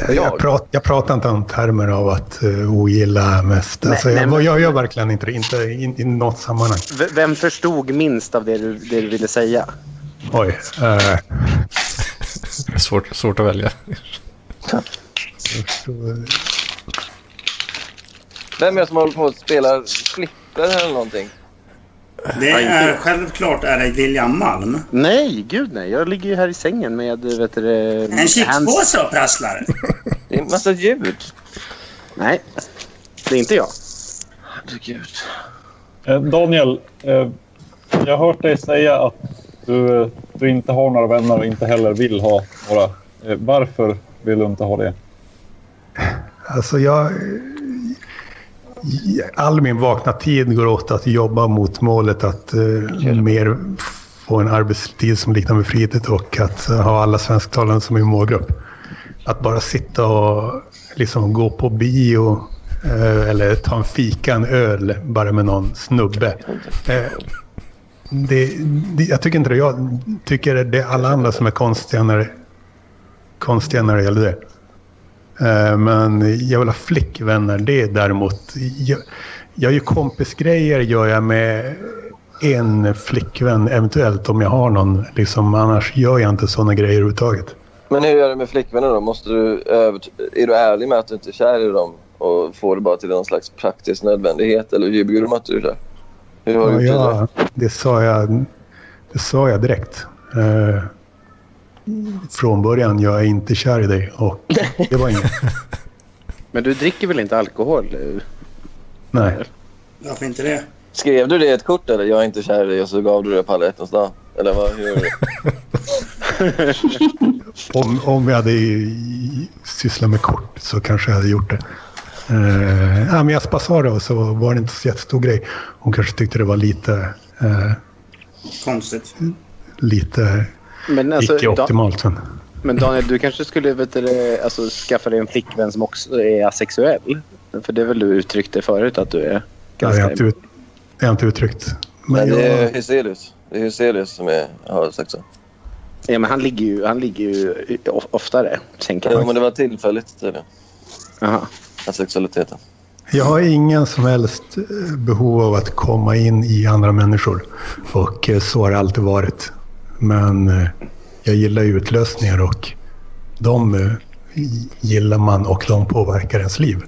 S13: Jag, prat, jag pratar inte om termer av att uh, ogilla mest.
S12: Nej,
S13: Alltså,
S12: nej,
S13: jag,
S12: men-
S13: jag gör verkligen inte det. Inte i, i något sammanhang.
S12: V- vem förstod minst av det du, det du ville säga?
S13: Oj. eh,
S4: Svårt, svårt att välja.
S10: Vem är det som håller på att spela flipper eller någonting?
S5: Det är, självklart är det William Malm.
S12: Nej, gud nej. Jag ligger ju här i sängen med vet du, eh,
S5: En chipspåse och prasslar.
S10: Det är en massa ljud.
S12: Nej, det är inte jag.
S10: Herregud.
S8: Eh, Daniel, eh, jag har hört dig säga att du, eh, du inte har några vänner och inte heller vill ha några. Eh, varför vill du inte ha det?
S13: Alltså jag... i- All min vakna tid går åt att jobba mot målet att eh, mer få en arbetstid som liknar min fritid och att eh, ha alla svensktalande som min målgrupp. Att bara sitta och liksom gå på bio eh, eller ta en fika, en öl, bara med någon snubbe. Eh, det, det, jag tycker inte det. Jag tycker det är alla andra som är konstiga när, konstiga när det gäller det. Eh, Men jag vill ha flickvänner. Det är däremot... Jag, jag gör kompisgrejer gör jag med en flickvän eventuellt om jag har någon. Liksom, annars gör jag inte sådana grejer överhuvudtaget.
S10: Men hur gör du med flickvänner då? Måste du övert- är du ärlig med att du inte är kär i dem och får det bara till någon slags praktisk nödvändighet? Eller ljuger du om att du är kär? Hur har
S13: Ja,
S10: du gjort det?
S13: jag, det, sa jag, det sa jag direkt. Eh, från början, jag är inte kär i dig. Och det var inget.
S12: Men du dricker väl inte alkohol?
S13: Nej.
S5: Varför inte det?
S10: Skrev du det i ett kort eller? Jag är inte kär i dig och så gav du det på alla hjärtans dag? Eller vad, hur gjorde du?
S13: Om, om jag hade i- sysslat med kort så kanske jag hade gjort det. Eh, ja, men jag bara sa det och så var det inte så jättestor grej. Hon kanske tyckte det var lite, eh,
S5: Konstigt.
S13: lite
S12: Men alltså,
S13: icke-optimalt. Men,
S12: Men Daniel, du kanske skulle vet du, det, alltså, skaffa dig en flickvän som också är asexuell? För det är väl du uttryckte förut att du är
S13: jag,
S12: ganska...
S13: har inte, ut, jag har inte uttryckt.
S10: Nej,
S13: Men
S10: det
S13: jag,
S12: eh,
S10: är Hyselius. Det är Hyselius som är, har sagt så.
S12: Ja, men han ligger ju, han ligger ju o- oftare, tänker
S10: Ja,
S12: jag.
S10: men det var tillfälligt tydligen.
S12: Aha.
S10: Asexualiteten.
S13: jag har ingen som helst eh, behov av att komma in i andra människor. Och eh, så har det alltid varit. Men eh, jag gillar ju utlösningar och de eh, gillar man och de påverkar ens liv.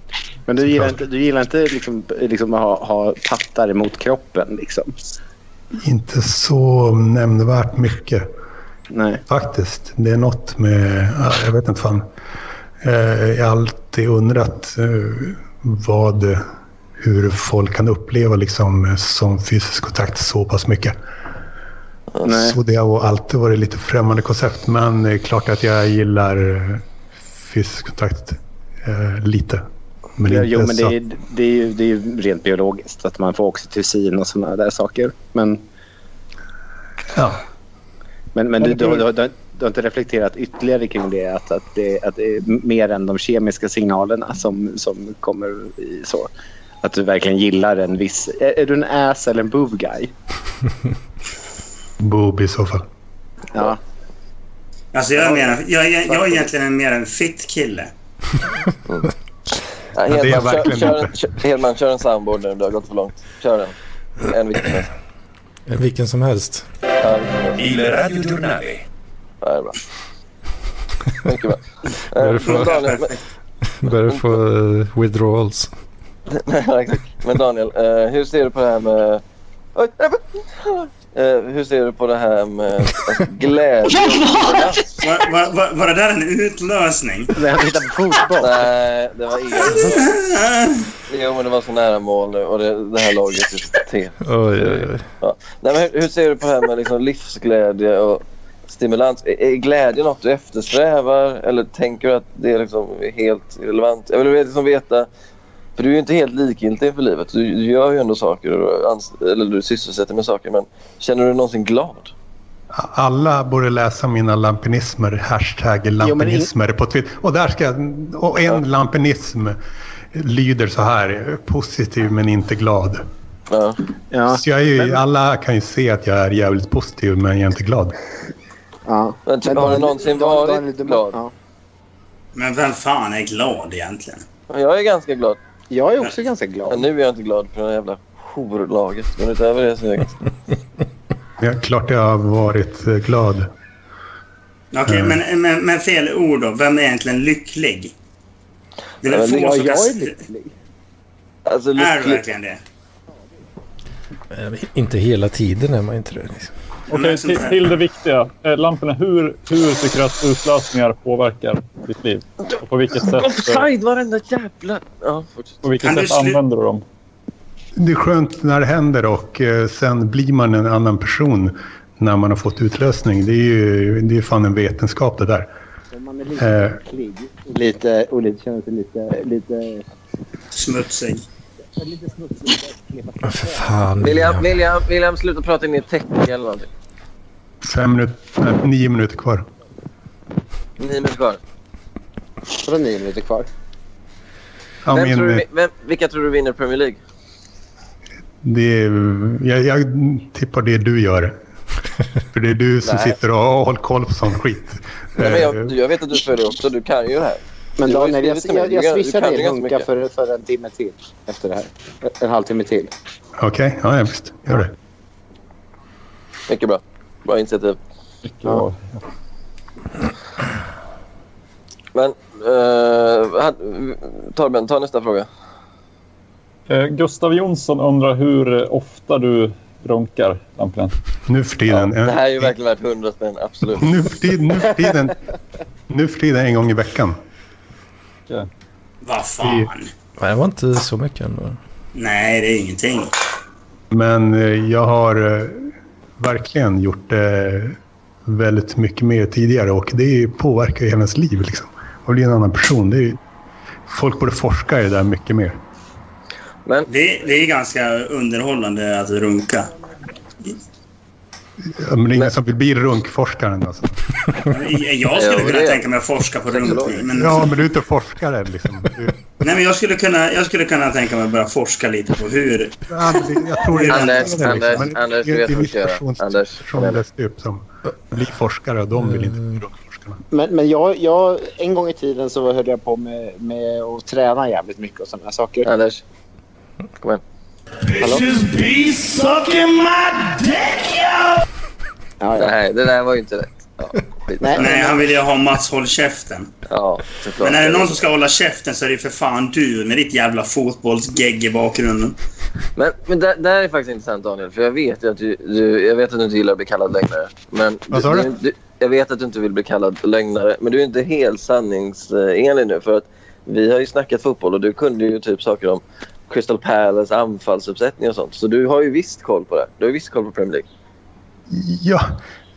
S12: Men du gillar inte, du gillar inte liksom, liksom att ha, ha pattar emot kroppen? Liksom.
S13: Inte så nämnvärt mycket.
S12: Nej.
S13: Faktiskt. Det är något med... ja, Jag vet inte fan. Eh, Jag har alltid undrat eh, vad... Hur folk kan uppleva liksom eh, som fysisk kontakt så pass mycket. Så det har alltid varit lite främmande koncept. Men det är klart att jag gillar eh, fysisk kontakt eh, lite. Men
S12: ja,
S13: inte
S12: jo, men det
S13: så
S12: är, det, är ju, det är ju rent biologiskt att man får oxytocin och sådana där saker. Men,
S13: Ja.
S12: men, men du, du, har- du, har- du, har- du har inte reflekterat ytterligare kring det? Att, att, det, att det är mer än de kemiska signalerna som, som kommer i så? Att du verkligen gillar en viss... Är, är du en ass eller en boob guy?
S13: boob i så fall.
S12: Ja.
S5: Alltså jag är, mer en, jag, jag, jag är egentligen en- mer en fit kille.
S12: Mm.
S10: Nej,
S5: Ja, det är jag
S10: Hedman, kör,
S5: verkligen
S10: kör, en-
S5: inte.
S10: kör, Hedman, kör en soundboard nu. Det har gått för långt. Kör den. En vilken som helst.
S4: Vilken som helst.
S10: Ja, vilken som helst.
S2: Il Radio Giornale.
S10: Ja, det är bra. Mycket bra.
S4: Börjar
S10: Eh,
S4: du få-
S10: Daniel, men-
S4: Börjar du få eh, withdrawals.
S10: Ja, exakt. Men Daniel, eh, hur ser du på det här med... Oj, nej, men- eh, hur ser du på det här med att glädje?
S5: Var, var, var, var det där en utlösning?
S10: Nej, han hittade fotboll. Nej, det var E inget. Jo, men det var så nära mål nu och det, det här laget är te.
S4: Oj, oj, oj.
S10: Ja. Nej, men hur, hur ser du på det här med liksom livsglädje och stimulans? Är, är glädje något du eftersträvar eller tänker du att det är liksom helt irrelevant? Jag vill liksom veta, för du är ju inte helt likgiltig för livet. Du, du gör ju ändå saker, och ans- eller du sysselsätter med saker. Men känner du dig någonsin glad?
S13: Alla borde läsa mina lampinismer, hashtag lampinismer på Twitter. Och, där ska, jag- och en lampinism lyder så här, positiv men inte glad.
S10: Ja.
S13: Så Alltså, jag är ju, alla kan ju se att jag är jävligt positiv men jag är inte glad.
S12: Ja.
S10: Men, typ, har du någonsin varit glad?
S5: Men vem fan är glad egentligen?
S10: Jag är ganska glad.
S12: Jag är också ganska glad.
S10: nu är jag inte glad för det här jävla horlaget. Men utöver det så är jag ganska...
S13: Ja, klart jag har varit eh, glad.
S5: Okej,
S10: Mm.
S5: men, men, men fel ord då. Vem är egentligen lycklig? Det är
S10: Ja,
S5: väl få
S10: jag-
S5: som
S10: jag
S5: kan-
S10: är lycklig. Alltså,
S5: Är du
S10: lycklig-
S5: verkligen det?
S4: Eh, Inte hela tiden är man inte det. Liksom.
S8: Okej, till, till det viktiga. Eh, Lamporna, hur, hur tycker du att utlösningar påverkar ditt liv? Och på vilket sätt, eh,
S10: Offside varenda jävla... Ja,
S8: på vilket sätt använder du dem?
S13: Det är skönt när det händer och eh, sen blir man en annan person när man har fått utlösning. Det är ju det är fan en vetenskap det där.
S12: Man är
S13: Eh.
S12: lite klig och lite, och lite, känner sig lite, lite...
S5: Smutsig.
S12: Lite smutsig.
S13: Fan.
S10: William, William, William, sluta prata in i ett täcke eller någonting.
S13: Fem minuter, nej, nio minuter kvar.
S10: Nio minuter kvar.
S12: Vadå nio minuter kvar?
S13: Ja,
S10: vem
S13: men- eh,
S10: tror du, vi- vem, vilka tror du vinner Premier League?
S13: Det är, jag, jag tippar det du gör. För det är du som
S10: Nej.
S13: sitter och har håll koll på sån skit.
S10: Nej, men
S13: Eh,
S10: jag, jag vet att du följer också. Du kan ju det här.
S12: Men
S10: Du har ju
S12: Daniel, jag,
S10: skrivit till mig.
S12: jag,
S10: Du kan-
S12: jag
S10: du
S12: swishar
S10: kan ju
S12: dig
S10: ganska
S12: Hunka
S10: mycket.
S12: för, för en timme till efter det här. En halvtimme till.
S13: Okej, ja, ja, visst. Gör det.
S10: Mycket bra. Bra initiativ.
S8: Ja.
S10: Men eh, han- Torben, ta nästa fråga.
S8: Eh, Gustav Jonsson undrar hur eh, ofta du runkar, Lamporna.
S13: Nu för tiden.
S10: Det
S13: eh,
S10: här är ju verkligen värt hundra spänn, absolut.
S13: Nu för tiden. Nu för tiden, nu för tiden en gång i veckan.
S5: Vad fan?
S4: Nej, det var inte så mycket ändå.
S5: Nej, det är ingenting.
S13: Men eh, jag har eh, verkligen gjort det väldigt mycket mer tidigare och det påverkar ju hela ens liv. Liksom. Man blir en annan person. Det är, ju- folk borde forska i det där mycket mer.
S5: Det, det är ganska underhållande att runka.
S13: Ja, Men det är ingen som vill bli runkforskaren alltså.
S5: Jag skulle kunna tänka mig att forska på runkning. Men,
S13: Ja, men du är inte forskare liksom. Du,
S5: nej, men jag, skulle kunna, jag skulle kunna tänka mig att börja forska lite på hur...
S13: jag tror det är
S10: Anders,
S13: det,
S10: Anders,
S13: Men
S10: Anders,
S13: det-
S10: du vet
S13: det är
S10: vad du
S13: viss
S10: ska göra.
S13: person,
S10: Anders.
S13: person läste upp som blir forskare och de vill inte bli runkforskare.
S12: Men, men jag, jag, en gång i tiden så höll jag på med, med att träna jävligt mycket och sådana saker.
S10: Anders. Kom igen.
S2: Bitches be sucking my dick, yo!
S10: Nej, det där var ju inte rätt. Ja, skit.
S5: Nej, han vill ju ha Mats håll käften.
S10: Ja, såklart.
S5: Men är det någon som ska hålla käften så är det ju för fan du med ditt jävla fotbollsgegg i bakgrunden.
S10: Men, men det, det här är faktiskt intressant Daniel, för jag vet ju att du, du, jag vet att du inte gillar att bli kallad lögnare. Men
S13: Vad sa du?
S10: Jag vet att du inte vill bli kallad lögnare, men du är inte helt sanningsenlig nu. För att vi har ju snackat fotboll och du kunde ju typ saker om Crystal Palace anfallsuppsättning och sånt. Så du har ju visst koll på det. Du har ju visst koll på Premier League.
S13: Ja,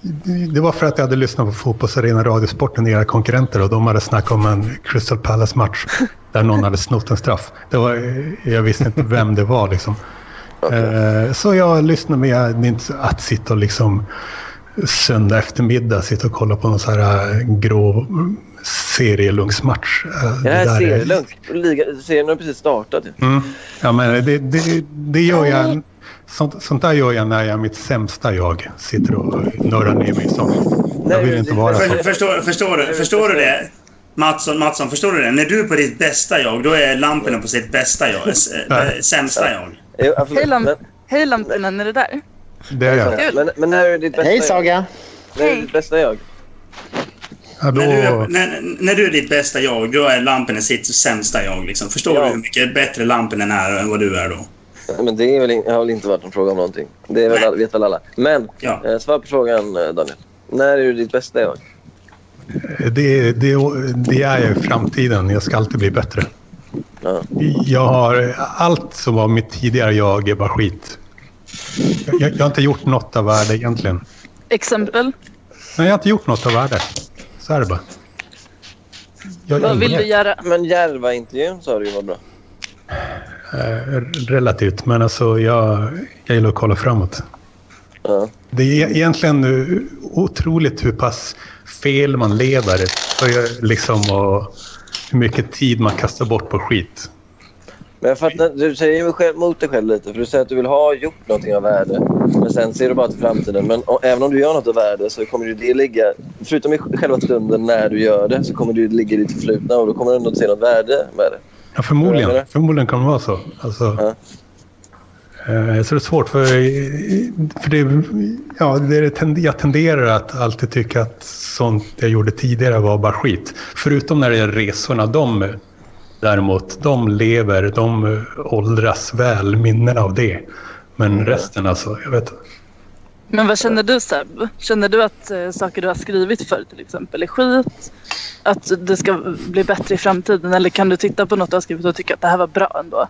S13: det- det var för att jag hade lyssnat på Fotbollsarena Radiosporten, era konkurrenter, och de hade snackat om en Crystal Palace-match där någon hade snott en straff. Det var, jag visste inte vem det var liksom. Eh, Så jag lyssnade, men jag, det är inte så att sitta och liksom söndag eftermiddag sitta och kolla på någon så här eh, grå serielunksmatch. Eh,
S10: Det här
S13: där
S10: är
S13: är-
S10: serielugnt. Liga- Serien har precis startat. ju.
S13: Mm. Ja, men det, det, det gör jag. Sånt, sånt där gör jag när jag är mitt sämsta jag. Sitter och nörrar ner mig i sånt. Jag vill inte vara
S5: För,
S13: så.
S5: förstår, förstår, du, förstår du det? Mattsson, Mattsson, förstår du det? När du är på ditt bästa jag, då är lamporna på sitt bästa jag. s- eh, Sämsta jag.
S10: Jo, absolut.
S15: Hej, lamp-
S10: Men-
S15: Hej lamporna, är det där?
S13: Det är jag.
S10: Men, men när är ditt bästa
S12: Hej,
S10: jag?
S12: Saga.
S10: När är ditt bästa jag?
S5: När du,
S13: Hallå.
S5: är- när, när du är ditt bästa jag, då är lamporna sitt sämsta jag. Liksom. Förstår du hur mycket bättre lamporna är än vad du är då?
S10: Ja, Men det är väl, in- har väl inte varit en fråga om någonting. Det är väl, alla- vet väl alla. Men eh, svar på frågan, eh, Daniel. När är du ditt bästa jag?
S13: Det, det, det är jag i framtiden. Jag ska alltid bli bättre.
S10: Ja.
S13: Jag har, allt som var mitt tidigare jag är bara skit. Jag, jag har inte gjort något av värde egentligen.
S15: Exempel?
S13: Nej, jag har inte gjort något av värde. Så är det bara. Jag
S10: Vad
S15: vill du göra?
S10: Men Järva-intervjun sa du ju var bra.
S13: Eh, Relativt, men alltså jag, jag gillar att kolla framåt.
S10: Ja.
S13: Det är egentligen eh, otroligt hur pass fel man lever. Och jag- Liksom, och hur mycket tid man kastar bort på skit.
S10: Men jag fattar, du säger ju själv, mot dig själv lite. För du säger att du vill ha gjort någonting av värde. Men sen ser du bara till framtiden. Men och, även om du gör något av värde så kommer ju det ligga... Förutom i själva stunden när du gör det så kommer det ju ligga i ditt förflutna. Och då kommer du ändå att se något värde med det.
S13: Ja, förmodligen.
S10: Eller?
S13: Förmodligen kommer det vara så. Alltså, eh, så det är svårt för, för det, ja, det är, tend- jag tenderar att alltid tycka att sånt jag gjorde tidigare var bara skit. Förutom när det är resorna. De däremot, de lever, de eh, åldras väl, minnen av det. Men resten alltså, jag vet inte.
S15: Men vad känner du Seb? Känner du att eh, saker du har skrivit för till exempel är skit? Att det ska bli bättre i framtiden? Eller kan du titta på något du har skrivit och tycka att det här var bra ändå?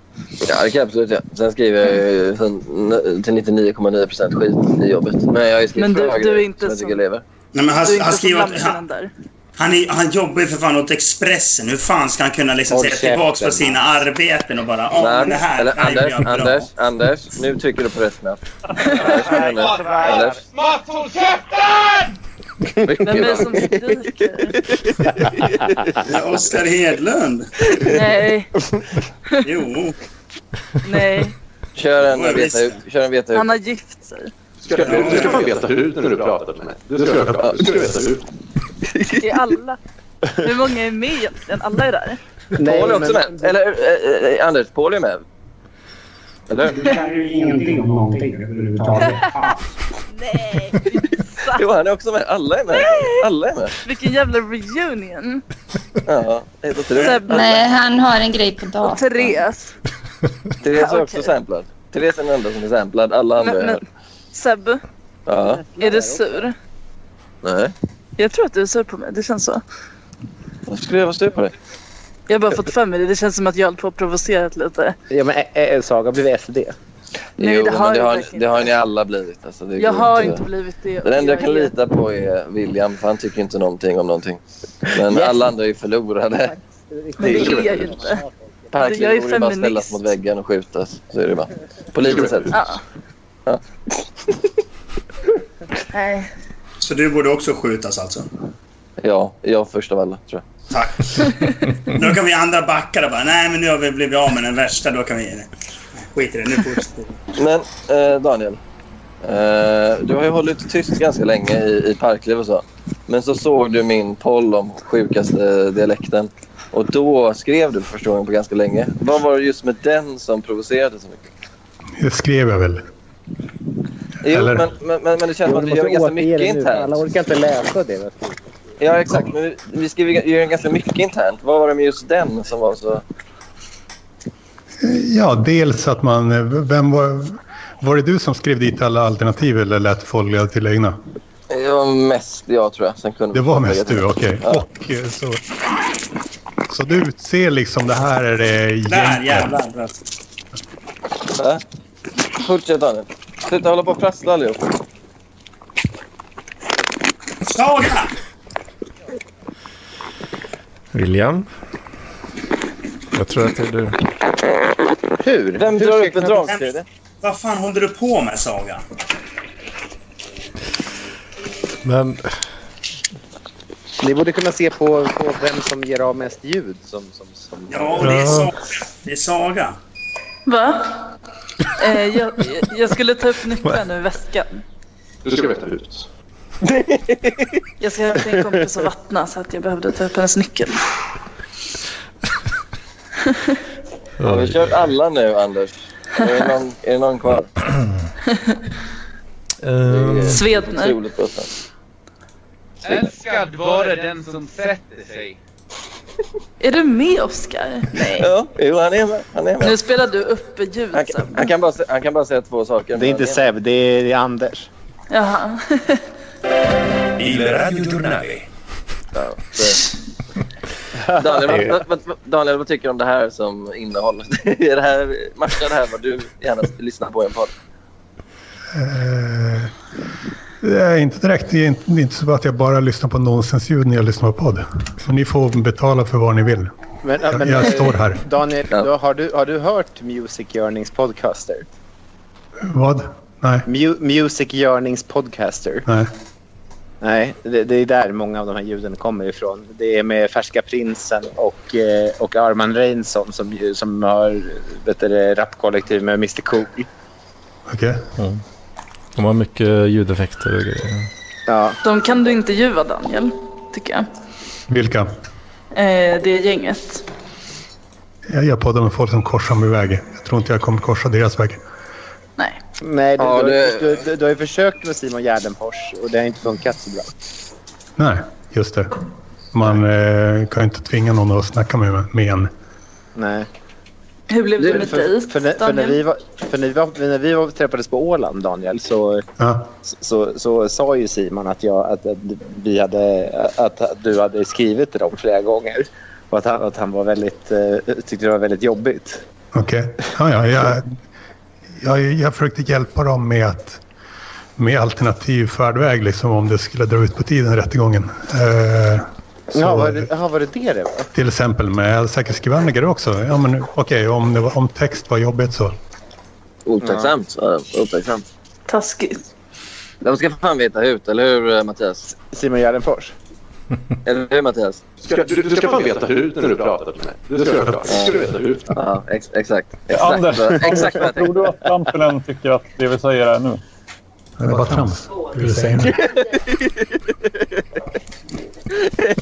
S10: Ja, det kan jag absolut göra. Sen skriver jag ju sen- till 99,9 procent skit i jobbet. Men jag har ju skrivit
S15: Men du-
S10: bra
S15: du
S10: grejer
S15: är inte
S10: som jag
S15: så-
S10: tycker lever.
S5: Nej, men han,
S15: Du är inte
S5: han
S15: så
S5: skriver att,
S15: bland
S5: han, han, är, han jobbar ju för fan åt Expressen. Hur fan ska han kunna liksom
S10: Håll
S5: se tillbaka på
S10: käften.
S5: sina arbeten och bara åh, men det här, det
S10: eller
S5: här gjorde
S10: Anders,
S5: jag bra.
S10: Anders, Anders. Nu trycker du på rätt knapp. Anders, Anders, Anders.
S2: Mats, håll käften!
S10: Mycket bra.
S5: Det är Oskar Hedlund.
S15: Nej.
S5: Jo.
S15: Nej,
S10: Kör en veta ut. Kör en veta ut.
S15: han har gift sig.
S6: Ska du, du ska få veta hur när du pratar med mig. Du ska, du ska, du ska veta hur.
S15: Det är alla. Hur många är med egentligen? Alla är där.
S10: Paul är också med. Eller eh, eh, Anders, Paul är med. Eller
S14: Du kan ju ingenting om någonting överhuvudtaget.
S10: Jo, han är också med. Alla är med. Alla är med.
S15: Vilken jävla reunion.
S10: Ja, helt otroligt.
S15: Seb-
S1: Nej, han har en grej på datorn.
S15: Och Therese.
S10: Therese är
S15: Ja,
S10: också
S15: okej.
S10: samplad. Therese är den enda som är samplad. Alla andra
S15: Men,
S10: är
S15: men Seb,
S10: Ja.
S15: är du sur?
S10: Nej.
S15: Jag tror att du är sur på mig. Det känns så.
S10: Varför skulle jag vara sur på dig?
S15: Jag har bara fått för mig det. Det känns som att jag håller på och provocerat lite.
S12: Ja, men ä- ä- Saga blev SD.
S15: Nej,
S10: Jo,
S15: det
S10: men
S15: har
S10: det,
S15: jag
S10: har,
S15: verkligen
S10: det har ni alla blivit. Alltså, det
S15: Jag
S10: går
S15: har inte blivit det.
S10: Den enda jag kan
S15: är-
S10: lita på är William, för han tycker inte någonting om någonting. Men
S15: Yes.
S10: alla andra är ju förlorade.
S15: Men det är jag ju inte. Alltså,
S10: Parkliv
S15: Jag är
S10: borde ju bara
S15: feminist.
S10: ställas mot väggen och skjutas. Så är det bara. På lite sätt.
S15: Ja.
S10: Ja.
S15: Nej.
S5: Så du borde också skjutas alltså?
S10: ja, jag först av alla tror jag.
S5: Tack. Då kan vi andra backa och bara nej men nu har vi blivit av med den värsta. Då kan vi... Nej, Skit i det, nu fortsätter vi.
S10: Men eh, Daniel, eh, du har ju hållit tyst ganska länge i, i parkliv och så. Men så såg du min poll om sjukaste eh, dialekten. Och då skrev du för första gången på ganska länge. Vad var det just med den som provocerade så mycket?
S13: Det skrev jag väl.
S10: Jo,
S13: Eller-
S10: men, men, men, men det känns som att vi gör ganska mycket internt.
S12: Alla orkar inte läsa det. va?
S10: Ja, exakt. Men vi, vi skriver vi gör ganska mycket internt. Vad var det med just den som var så...
S13: Ja, dels att man... eh, Vem var, var det du som skrev dit alla alternativ eller lät folk göra till egna?
S10: Det var mest jag, tror jag. Sen kunde
S13: Det
S10: vi-
S13: var mest du, okej.
S10: Ja.
S13: Och eh, så... Så du utser liksom det här är det
S10: Där,
S13: gänget.
S5: jävlar.
S10: Va? Fortsätt, Daniel. Sluta hålla på och prassla allihop.
S5: Saga!
S4: William? Jag tror att det är du.
S10: Hur? Vem drar upp en dragkedja?
S5: Vad fan håller du på med Saga?
S4: Men
S12: Ni borde kunna se på, på vem som ger av mest ljud. Som, som, som...
S5: Ja, och det är Saga. Det är Saga.
S15: Va? Eh, jag, jag skulle ta upp nyckeln ur väskan.
S6: Du ska veta hur.
S15: Jag ska hämta en kompis och vattna så att jag behövde ta upp hennes nyckel.
S10: Har vi kört alla nu, Anders? Är det någon, är det någon kvar?
S4: ehm,
S15: Svedner.
S10: Otroligt bra.
S11: Älskad vare den som sätter sig.
S15: Är du med Oskar? Nej.
S10: Ja, jo, han är med. Han är med.
S15: Nu spelar du uppe ljud.
S10: Han, han, kan bara, sä- han kan bara säga två saker.
S12: Det är inte Seb, det är Anders.
S15: Jaha.
S10: Il Radio Giornale. Daniel, vad, vad- vad, vad, Daniel, vad tycker du om det här som innehåll? är det här, matchar det här vad du gärna lyssnar på i en podd?
S13: Eh, det är inte direkt. Det är inte, det är inte så att jag bara lyssnar på nonsensljud när jag lyssnar på podd. Men ni får betala för vad ni vill.
S12: Men,
S13: Jag-
S12: men,
S13: jag
S12: eh,
S13: står här.
S12: Daniel, då, har, du, har du hört Music Yearnings Podcaster?
S13: Vad? Nej.
S12: Mu- music Yearnings Podcaster?
S13: Nej.
S12: Nej, det, det är där många av de här ljuden kommer ifrån. Det är med Färska Prinsen och, eh, och Arman Reinsson som, ju- som har vet du, det, rapkollektiv med Mr Cool.
S13: Okej.
S4: De har mycket ljudeffekter och grejer.
S12: Ja.
S15: De kan du intervjua Daniel, tycker jag.
S13: Vilka?
S15: Eh, det är gänget.
S13: Jag gör poddar med folk som korsar min väg. Jag tror inte jag kommer korsa deras väg.
S12: Nej, du,
S13: Ja,
S12: du,
S13: det-
S12: Du, du, du har ju försökt med Simon Gärdenfors och det har inte funkat så bra.
S13: Nej, just det. Man eh, kan ju inte tvinga någon att snacka med, med en.
S12: Nej.
S15: Hur blev det med
S12: för,
S15: dig,
S12: för, när, för, när
S15: Daniel?
S12: vi var, för när vi, var, när vi var, träffades på Åland, Daniel, så, så, så, sa ju Simon att, jag, att, att, vi hade, att, att du hade skrivit till dem flera gånger. Och att han, att han var väldigt, eh, tyckte det var väldigt jobbigt.
S13: Okej. Ja, ja, jag, jag, jag försökte hjälpa dem med att med alternativ färdväg liksom, om det skulle dra ut på tiden rättegången. Eh, så-
S12: Ja, var det, aha, var det det det var?
S13: Till exempel med säkerhetsgranskare också. Ja, men okej, om, det var- om text var jobbigt så.
S10: Otacksamt, sa jag. Otacksamt.
S15: Taskigt.
S10: De ska för fan veta hut, eller hur eh, Mattias?
S12: Simon Gärdenfors?
S10: eller hur Mattias?
S6: Ska- du- du ska fan veta hut när du pratar till mig. Det ska jag klart. Ska du veta hut.
S10: Ja, ex- exakt.
S8: Ja,
S10: Exakt,
S8: Anders,
S10: vad- exakt vad jag
S8: tror
S10: tänkte.
S8: du att Trampelen tycker att det vi säger här nu?
S13: Det är bara trams. Det vill säga.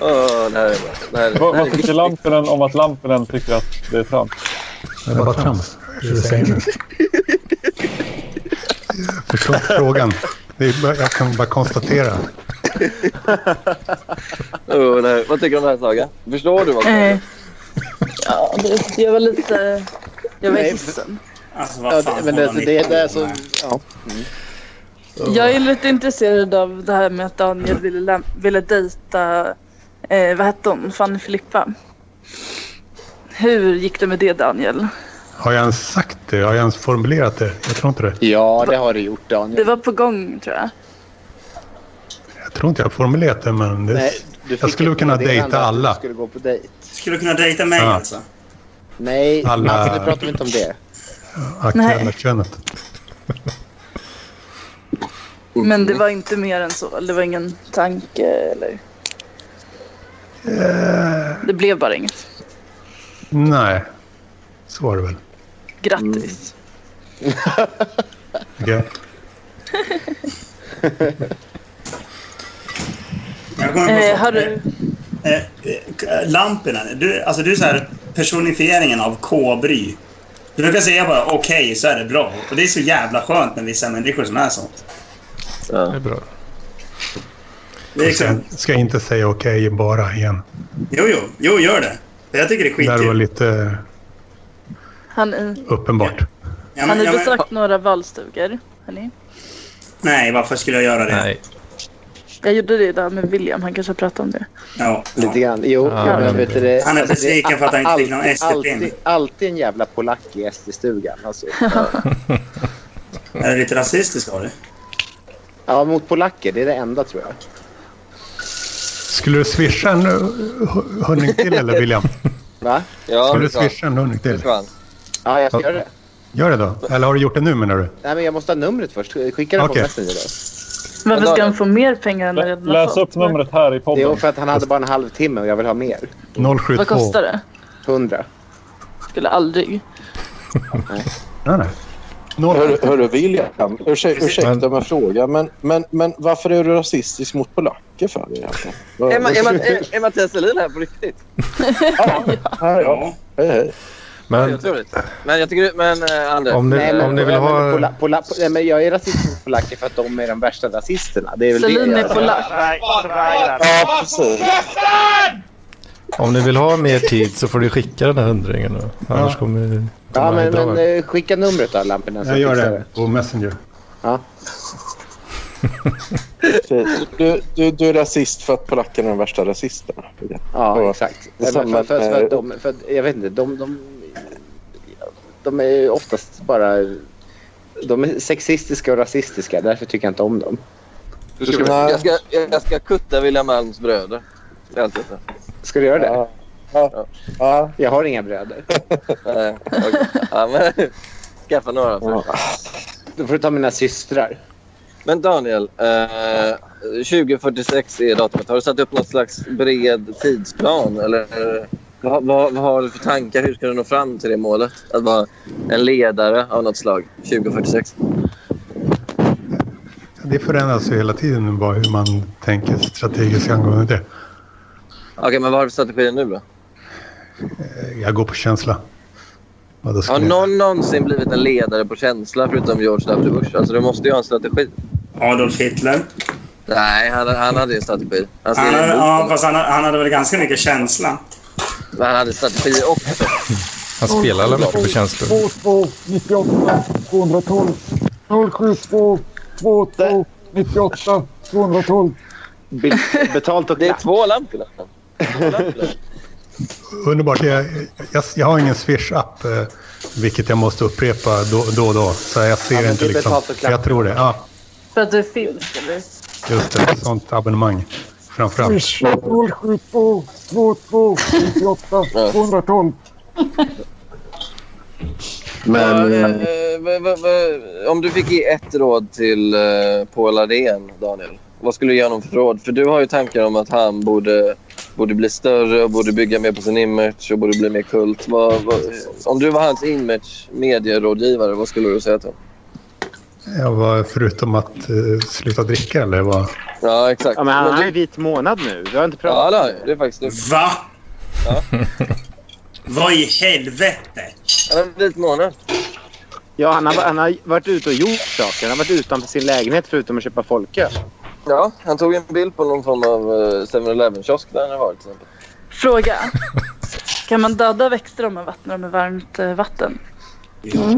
S10: Åh, det här är bra. Det här
S8: Vad,
S10: är, det här
S8: vad
S10: är viktigt.
S8: tycker Lampinen om att Lampinen tycker att det är trams?
S13: Det är bara trams. Det vill säga. Jag förstår inte frågan. Det är bara, jag kan bara konstatera.
S10: Åh, det här- Oh, Vad tycker du om det här Saga? Förstår du vad
S15: Eh, ja, det, jag var lite... Jag var
S12: Nej,
S15: hissen.
S5: Alltså,
S12: vad fan men det, det, det, är så, ja.
S15: Jag är lite intresserad av det här med att Daniel ville, läm- ville dejta... Eh, vad hette hon? Fanny Filippa. Hur gick det med det Daniel?
S13: Har jag ens sagt det? Har jag ens formulerat det? Jag tror inte det.
S12: Ja, det har du gjort Daniel.
S15: Det var på gång tror jag.
S13: Jag tror inte jag har formulerat det, men det,
S12: Nej, du fick
S13: jag skulle
S12: ett
S13: kunna
S12: meddelande
S13: dejta
S12: att du
S13: alla.
S12: Skulle gå på dejt.
S5: Skulle du kunna dejta mig
S13: Ja.
S5: alltså?
S12: Nej,
S13: Alla-
S12: alltså, nu pratar vi inte om det.
S13: Aktuella könet.
S15: Men det var inte mer än så. Det var ingen tanke eller...
S5: Eh.
S15: Det blev bara inget.
S13: Nej, så var det väl.
S15: Grattis.
S13: Okej.
S5: Jag kommer på-
S15: Eh, har du...
S5: Eh, eh, Lampinen, du, alltså du är så här personifieringen av K-bry. Du brukar säga bara okej, så är det bra. Och det är så jävla skönt med vissa människor som är sånt.
S10: Det är
S13: bra.
S5: Det är
S13: Ska,
S5: kul.
S13: jag- ska jag inte säga okej bara igen.
S5: Jo, jo, jo, gör det. För Jag tycker det är
S13: Det här var
S5: skitkul.
S13: lite
S15: Han är...
S13: uppenbart.
S5: Mm. Ja,
S15: Har
S5: men,
S15: ni
S5: ja, men,
S15: besökt några valstugor? Hörni?
S5: nej, varför skulle jag göra det? Nej.
S15: Jag gjorde det idag med William, han kanske har pratat om det.
S5: Ja,
S12: lite grann. Jo,
S5: Ja,
S12: men
S5: men-
S12: vet du det,
S5: Han är
S12: alltså, det
S5: besviken för att han inte fick någon
S12: alltid-
S5: SD-pin.
S12: alltid- Alltid en jävla polack i SD-stugan. Alltså. Ja.
S5: Är det lite rasistiskt av det?
S12: ja, mot polacker. Det är det enda tror jag.
S13: Skulle du swisha en eh, hu- hundring till eller William?
S12: Va?
S13: Ska du swisha en hundring till?
S12: Ja, jag ska göra det.
S13: Gör det då. Eller har du gjort det nu menar du?
S12: Nej, men jag måste ha numret först. Skicka det på
S13: Okej.
S12: Messenger då.
S15: Varför ska han få mer pengar än han redan har fått?
S8: här i podden.
S12: Jo, för att han hade bara en halvtimme och jag vill ha mer.
S13: 072.
S15: Vad kostar det?
S12: 100.
S15: Skulle aldrig.
S13: Nej, nej.
S6: Hör, hörru, William. Ursäk, ursäkta men fråga, men, men, men varför är du rasistisk mot polacker för egentligen? Vad-
S10: Är, Ma- är, Ma- är, är Mattias Selin här på riktigt?
S6: Ja, ja. Hej, hej.
S10: Det är
S4: Men
S10: otroligt. Men jag tycker... Men eh, Anders.
S4: Om ni-
S10: Nej, men-
S4: om ni vill ha-
S12: Men, pola, pola, po- nej, men jag är rasist mot polacker för att de är de värsta rasisterna. Det är väl
S15: Selin
S12: det
S15: är polack.
S12: Ja, precis.
S4: Om ni vill ha mer tid så får du skicka den här hundringen då. Annars kommer kommer
S12: Ja,
S4: han
S12: men,
S4: dra.
S12: men eh, skicka numret då, lamporna. så
S13: Jag gör
S12: fixar
S13: det på Messenger.
S12: Ja.
S6: Du, du, du är rasist för att polackerna är de värsta rasisterna.
S12: Ja, exakt. Nej, men för, för, för, att de, för, att- jag vet inte, de, de, de är ju oftast bara... De är sexistiska och rasistiska, därför tycker jag inte om dem.
S10: Du ska, jag, ska, jag ska kutta William Malms bröder. Det är allt jag säger.
S12: Ska du göra det? Ja. Ja. Jag har inga bröder.
S10: Nej, Eh, okej. ja, men, skaffa några först.
S12: Då får du ta mina systrar.
S10: Men Daniel, eh, 2046 är datumet. Har du satt upp något slags bred tidsplan? Eller vad, vad, vad har du för tankar? Hur ska du nå fram till det målet? Att vara en ledare av något slag 2046?
S13: Det förändras ju hela tiden bara hur man tänker strategiskt angående det.
S10: Okej, men vad har du för strategier nu då?
S13: Eh, Jag går på känsla. Vad då ska
S10: Har
S13: ni-
S10: någon någonsin blivit en ledare på känsla förutom George W. Bush? Alltså du måste ju ha en strategi.
S5: Adolf Hitler?
S10: Nej, han, han hade ju en strategi.
S12: Alltså,
S10: Han
S5: Han
S10: skrev en
S5: hade,
S10: bok
S5: ja,
S10: om det.
S5: fast han, hade- han hade väl ganska mycket känsla.
S10: Men han hade strategi också.
S4: Han spelar alla mycket på känslor.
S7: 22, 98, 212. 072, 22, 98, 212.
S12: Be- betalt och
S10: Det är två lampor.
S13: Underbart. Jag, jag, jag har ingen Swish-app, eh, vilket jag måste upprepa då då. och då. Så jag ser
S15: men
S13: inte
S15: det är
S13: liksom.
S15: betalt och klart.
S13: Jag tror det. Ja,
S15: För att du är finsk eller?
S13: just det. Sånt abonnemang. Framförallt.
S7: Swish 072, 22, 98, 212.
S10: Men, eh, vad- vad- vad- om du fick ge ett råd till eh, Paul Arén, Daniel. Vad skulle du ge honom för råd? För du har ju tankar om att han borde, borde bli större och borde bygga mer på sin image och borde bli mer kult. Vad, vad, om du var hans image medierådgivare, vad skulle du säga till honom?
S13: Jag var förutom att eh, sluta dricka eller vad?
S10: Ja, exakt.
S12: Ja, men han
S10: Men
S12: har
S10: du-
S12: ju vit månad nu. Vi har inte
S10: Ja,
S12: pratat.
S10: det har jag. det är faktiskt du.
S5: Va?
S10: Ja.
S5: Vad i helvete?
S10: Han har vit månad.
S12: Ja, han har, han har varit ute och gjort saker. Han har varit utanför sin lägenhet förutom att köpa folköl.
S10: Ja, han tog en bild på någon form av eh, 7-Eleven-kiosk där han har varit till exempel.
S15: Fråga. Kan man döda växter om man vattnar dem med varmt eh, vatten?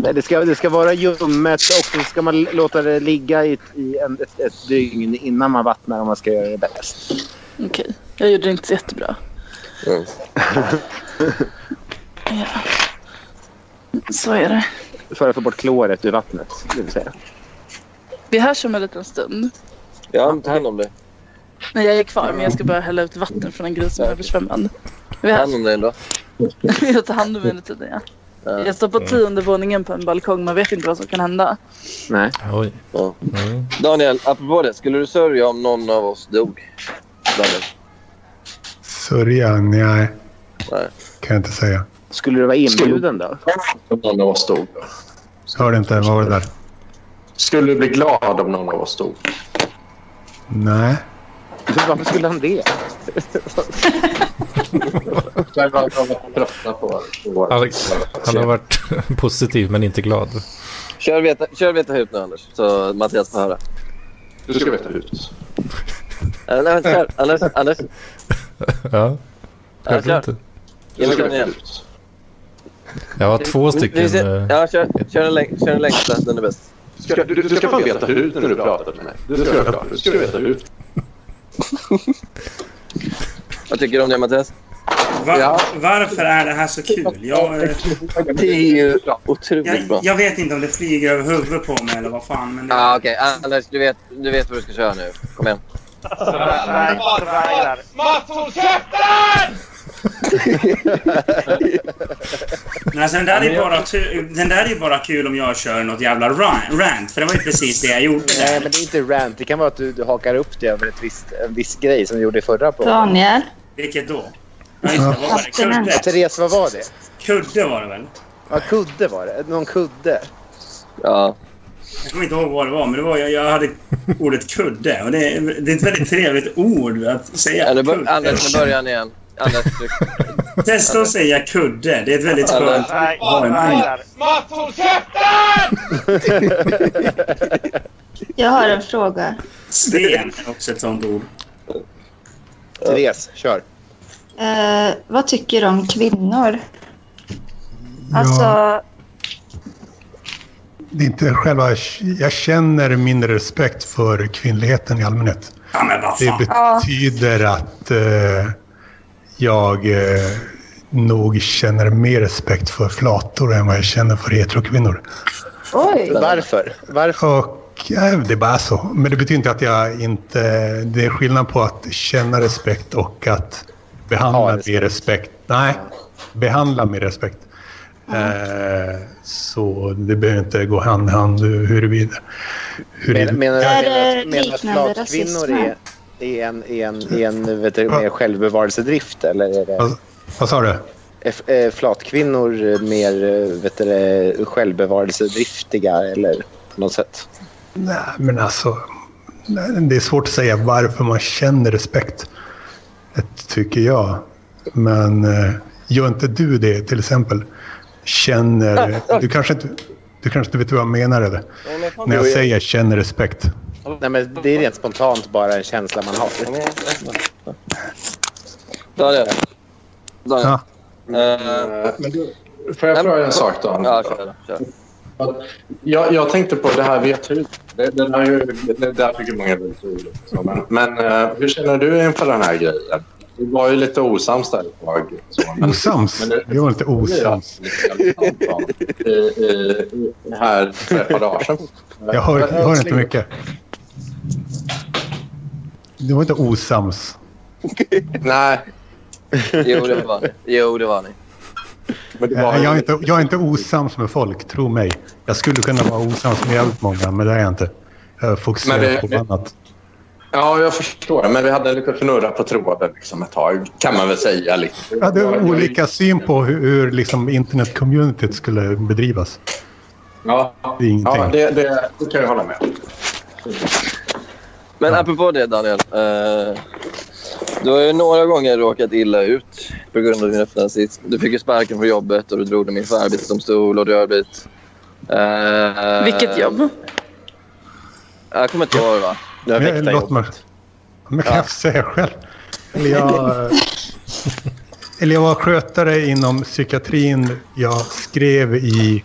S12: Nej, det, ska, det ska vara ljummet och så ska man l- låta det ligga i, i en, ett, ett dygn innan man vattnar om man ska göra det bäst.
S15: Okej, jag gjorde det inte så jättebra.
S10: Mm.
S15: Så är det.
S12: För att få bort kloret ur vattnet, det vill säga.
S15: Vi hörs om en liten stund.
S10: Ja, ta hand om dig.
S15: Nej, jag är kvar men jag ska bara hälla ut vatten från en gris som är översvämmad.
S10: Ta hand om dig ändå.
S15: Jag tar hand om mig under tiden, ja. Jag står på tionde våningen på en balkong. Man vet inte vad som kan hända.
S12: Nej.
S4: Oj.
S10: Ja. Mm. Daniel, apropå det. Skulle du sörja om någon av oss dog? Daniel.
S13: Sörja? Nej,
S10: Nej.
S13: kan jag inte säga.
S12: Skulle du vara inbjuden då?
S16: Om någon av oss dog.
S13: Hörde inte. Vad var det där?
S16: Skulle du bli glad om någon av oss dog?
S13: Nej.
S12: Varför skulle han det?
S16: Jag var trötta på
S4: Alex, han har varit positiv men inte glad.
S10: Kör veta, kör veta hut nu, Anders, så Mattias får höra.
S16: Du ska veta hut.
S10: Äh, nej, men kör. Anders, Anders. Ja,
S4: Ja. Hörde
S10: kör.
S4: du inte?
S10: Ge mig den igen.
S4: Jag har två stycken.
S10: Vi ser-
S4: eh,
S10: Ja, kör, kör, den läng- kör den längsta. Den är bäst.
S16: Ska, du, du ska fan veta hut när du pratar med mig. Du ska, du ska, du ska veta hut.
S10: Vad tycker du om det, Mattias?
S5: Va, Varför är det här så kul? Jag, eh,
S10: Det är ju otroligt bra.
S5: jag, jag vet inte om det flyger över huvudet på mig eller vad fan. Men det...
S10: Ah, Okej, Anders, du vet, du vet vad du ska köra nu. Kom igen.
S2: Mats, håll käften!
S5: Men alltså, den, där är bara tu- den där är bara kul om jag kör något jävla ra- rant. För det var ju precis det jag gjorde.
S12: Nej, men det är inte rant. Det kan vara att du, du hakar upp dig över ett visst, en viss grej som du gjorde i förra programmet.
S1: Daniel?
S5: Vilket då? Ja, just det. Vad var det?
S12: Ja,
S5: Kudde?
S12: Therese, vad var det?
S5: Kudde var det väl?
S12: Ja, kudde var det. Någon kudde.
S10: Ja.
S5: Jag kommer inte ihåg vad det var, men det var, jag, jag hade ordet kudde. Och det, är- det är ett väldigt trevligt ord att säga.
S10: Ja, nu bör,
S5: Kudde.
S10: Anders, nu börjar han igen. Anders, du...
S5: Testa att säga kudde. Det är ett väldigt
S10: Ja,
S5: skönt
S10: nej,
S5: ord.
S2: Mats, håll käften!
S1: Jag har en fråga.
S5: Sten är också ett sånt ord.
S12: Therese, kör.
S1: Eh, vad tycker du om kvinnor? Alltså,
S13: Det är inte själva... Jag känner mindre respekt för kvinnligheten i allmänhet. Det
S1: Ja.
S13: betyder att eh, jag eh, nog känner mer respekt för flator än vad jag känner för heterokvinnor.
S1: Oj!
S12: Varför?
S13: Varför? Och, eh, det är bara så. Men det betyder inte att jag inte... Det är skillnad på att känna respekt och att behandla med respekt. Nej, behandla med respekt. Eh, så det behöver inte gå hand i hand huruvida... huruvida
S12: Menar
S1: Är
S12: du
S1: det
S12: menar du att
S1: liknande
S12: flatkvinnor
S1: rasism här?
S12: är, är en, är en, är en vet du, mer självbevarelsedrift? Eller är det,
S13: Vad- Vad sa du?
S12: är, är flatkvinnor mer eh, vet du, det, självbevarelsedriftiga eller på något sätt?
S13: Nej, men alltså... nej, Det är svårt att säga varför man känner respekt. Det tycker jag. Men eh, gör inte du det till exempel? Känner... Du kanske inte, du kanske inte vet vad jag menar eller? När jag säger känner respekt.
S12: Nej, men det är rent spontant bara en känsla man har.
S10: Daniel. Daniel.
S13: Ja.
S10: Eh,
S16: Men du, får jag fråga en sak då?
S10: Ja, kör. kör.
S16: Jag, jag tänkte på det här vethuset. Det, det, där är ju- det där tycker många är roligt. så, Men, men eh, hur känner du inför den här grejen? Du var ju lite osams där ett tag. så, men-
S13: Osams?
S16: men det-
S13: Vi var inte osams.
S16: I, i, i, här för ett par dagar sedan.
S13: Jag hör, jag hör inte mycket. Du var inte osams.
S16: Nej.
S10: Jo, det var ni. Jo, det var ni.
S13: Eh, Jag är, inte, jag är inte osams med folk, tro mig. Jag skulle kunna vara osams med jävligt många, men det är jag inte. Jag fokuserar
S16: Men det-
S13: på annat.
S16: Ja, jag förstår. Men vi hade lite fnurra på tråden liksom ett tag, kan man väl säga. liksom.
S13: Jag
S16: Lite.
S13: hade olika syn på hur, hur liksom internetcommunityt skulle bedrivas.
S16: Ja,
S13: Det är ingenting.
S16: ja det, det, det kan jag hålla med om.
S10: Men apropå det Daniel. Eh, du har ju några gånger råkat illa ut på grund av din öppnarnazism. Du fick ju sparken från jobbet och du drog dem inför arbetsdomstol och du har blivit... eh,
S15: Vilket jobb?
S10: Jag kommer inte ihåg vad det var.
S13: Men jag- Låt mig. Men kan jag säga själv? Eller jag, eller jag var skötare inom psykiatrin. Jag skrev i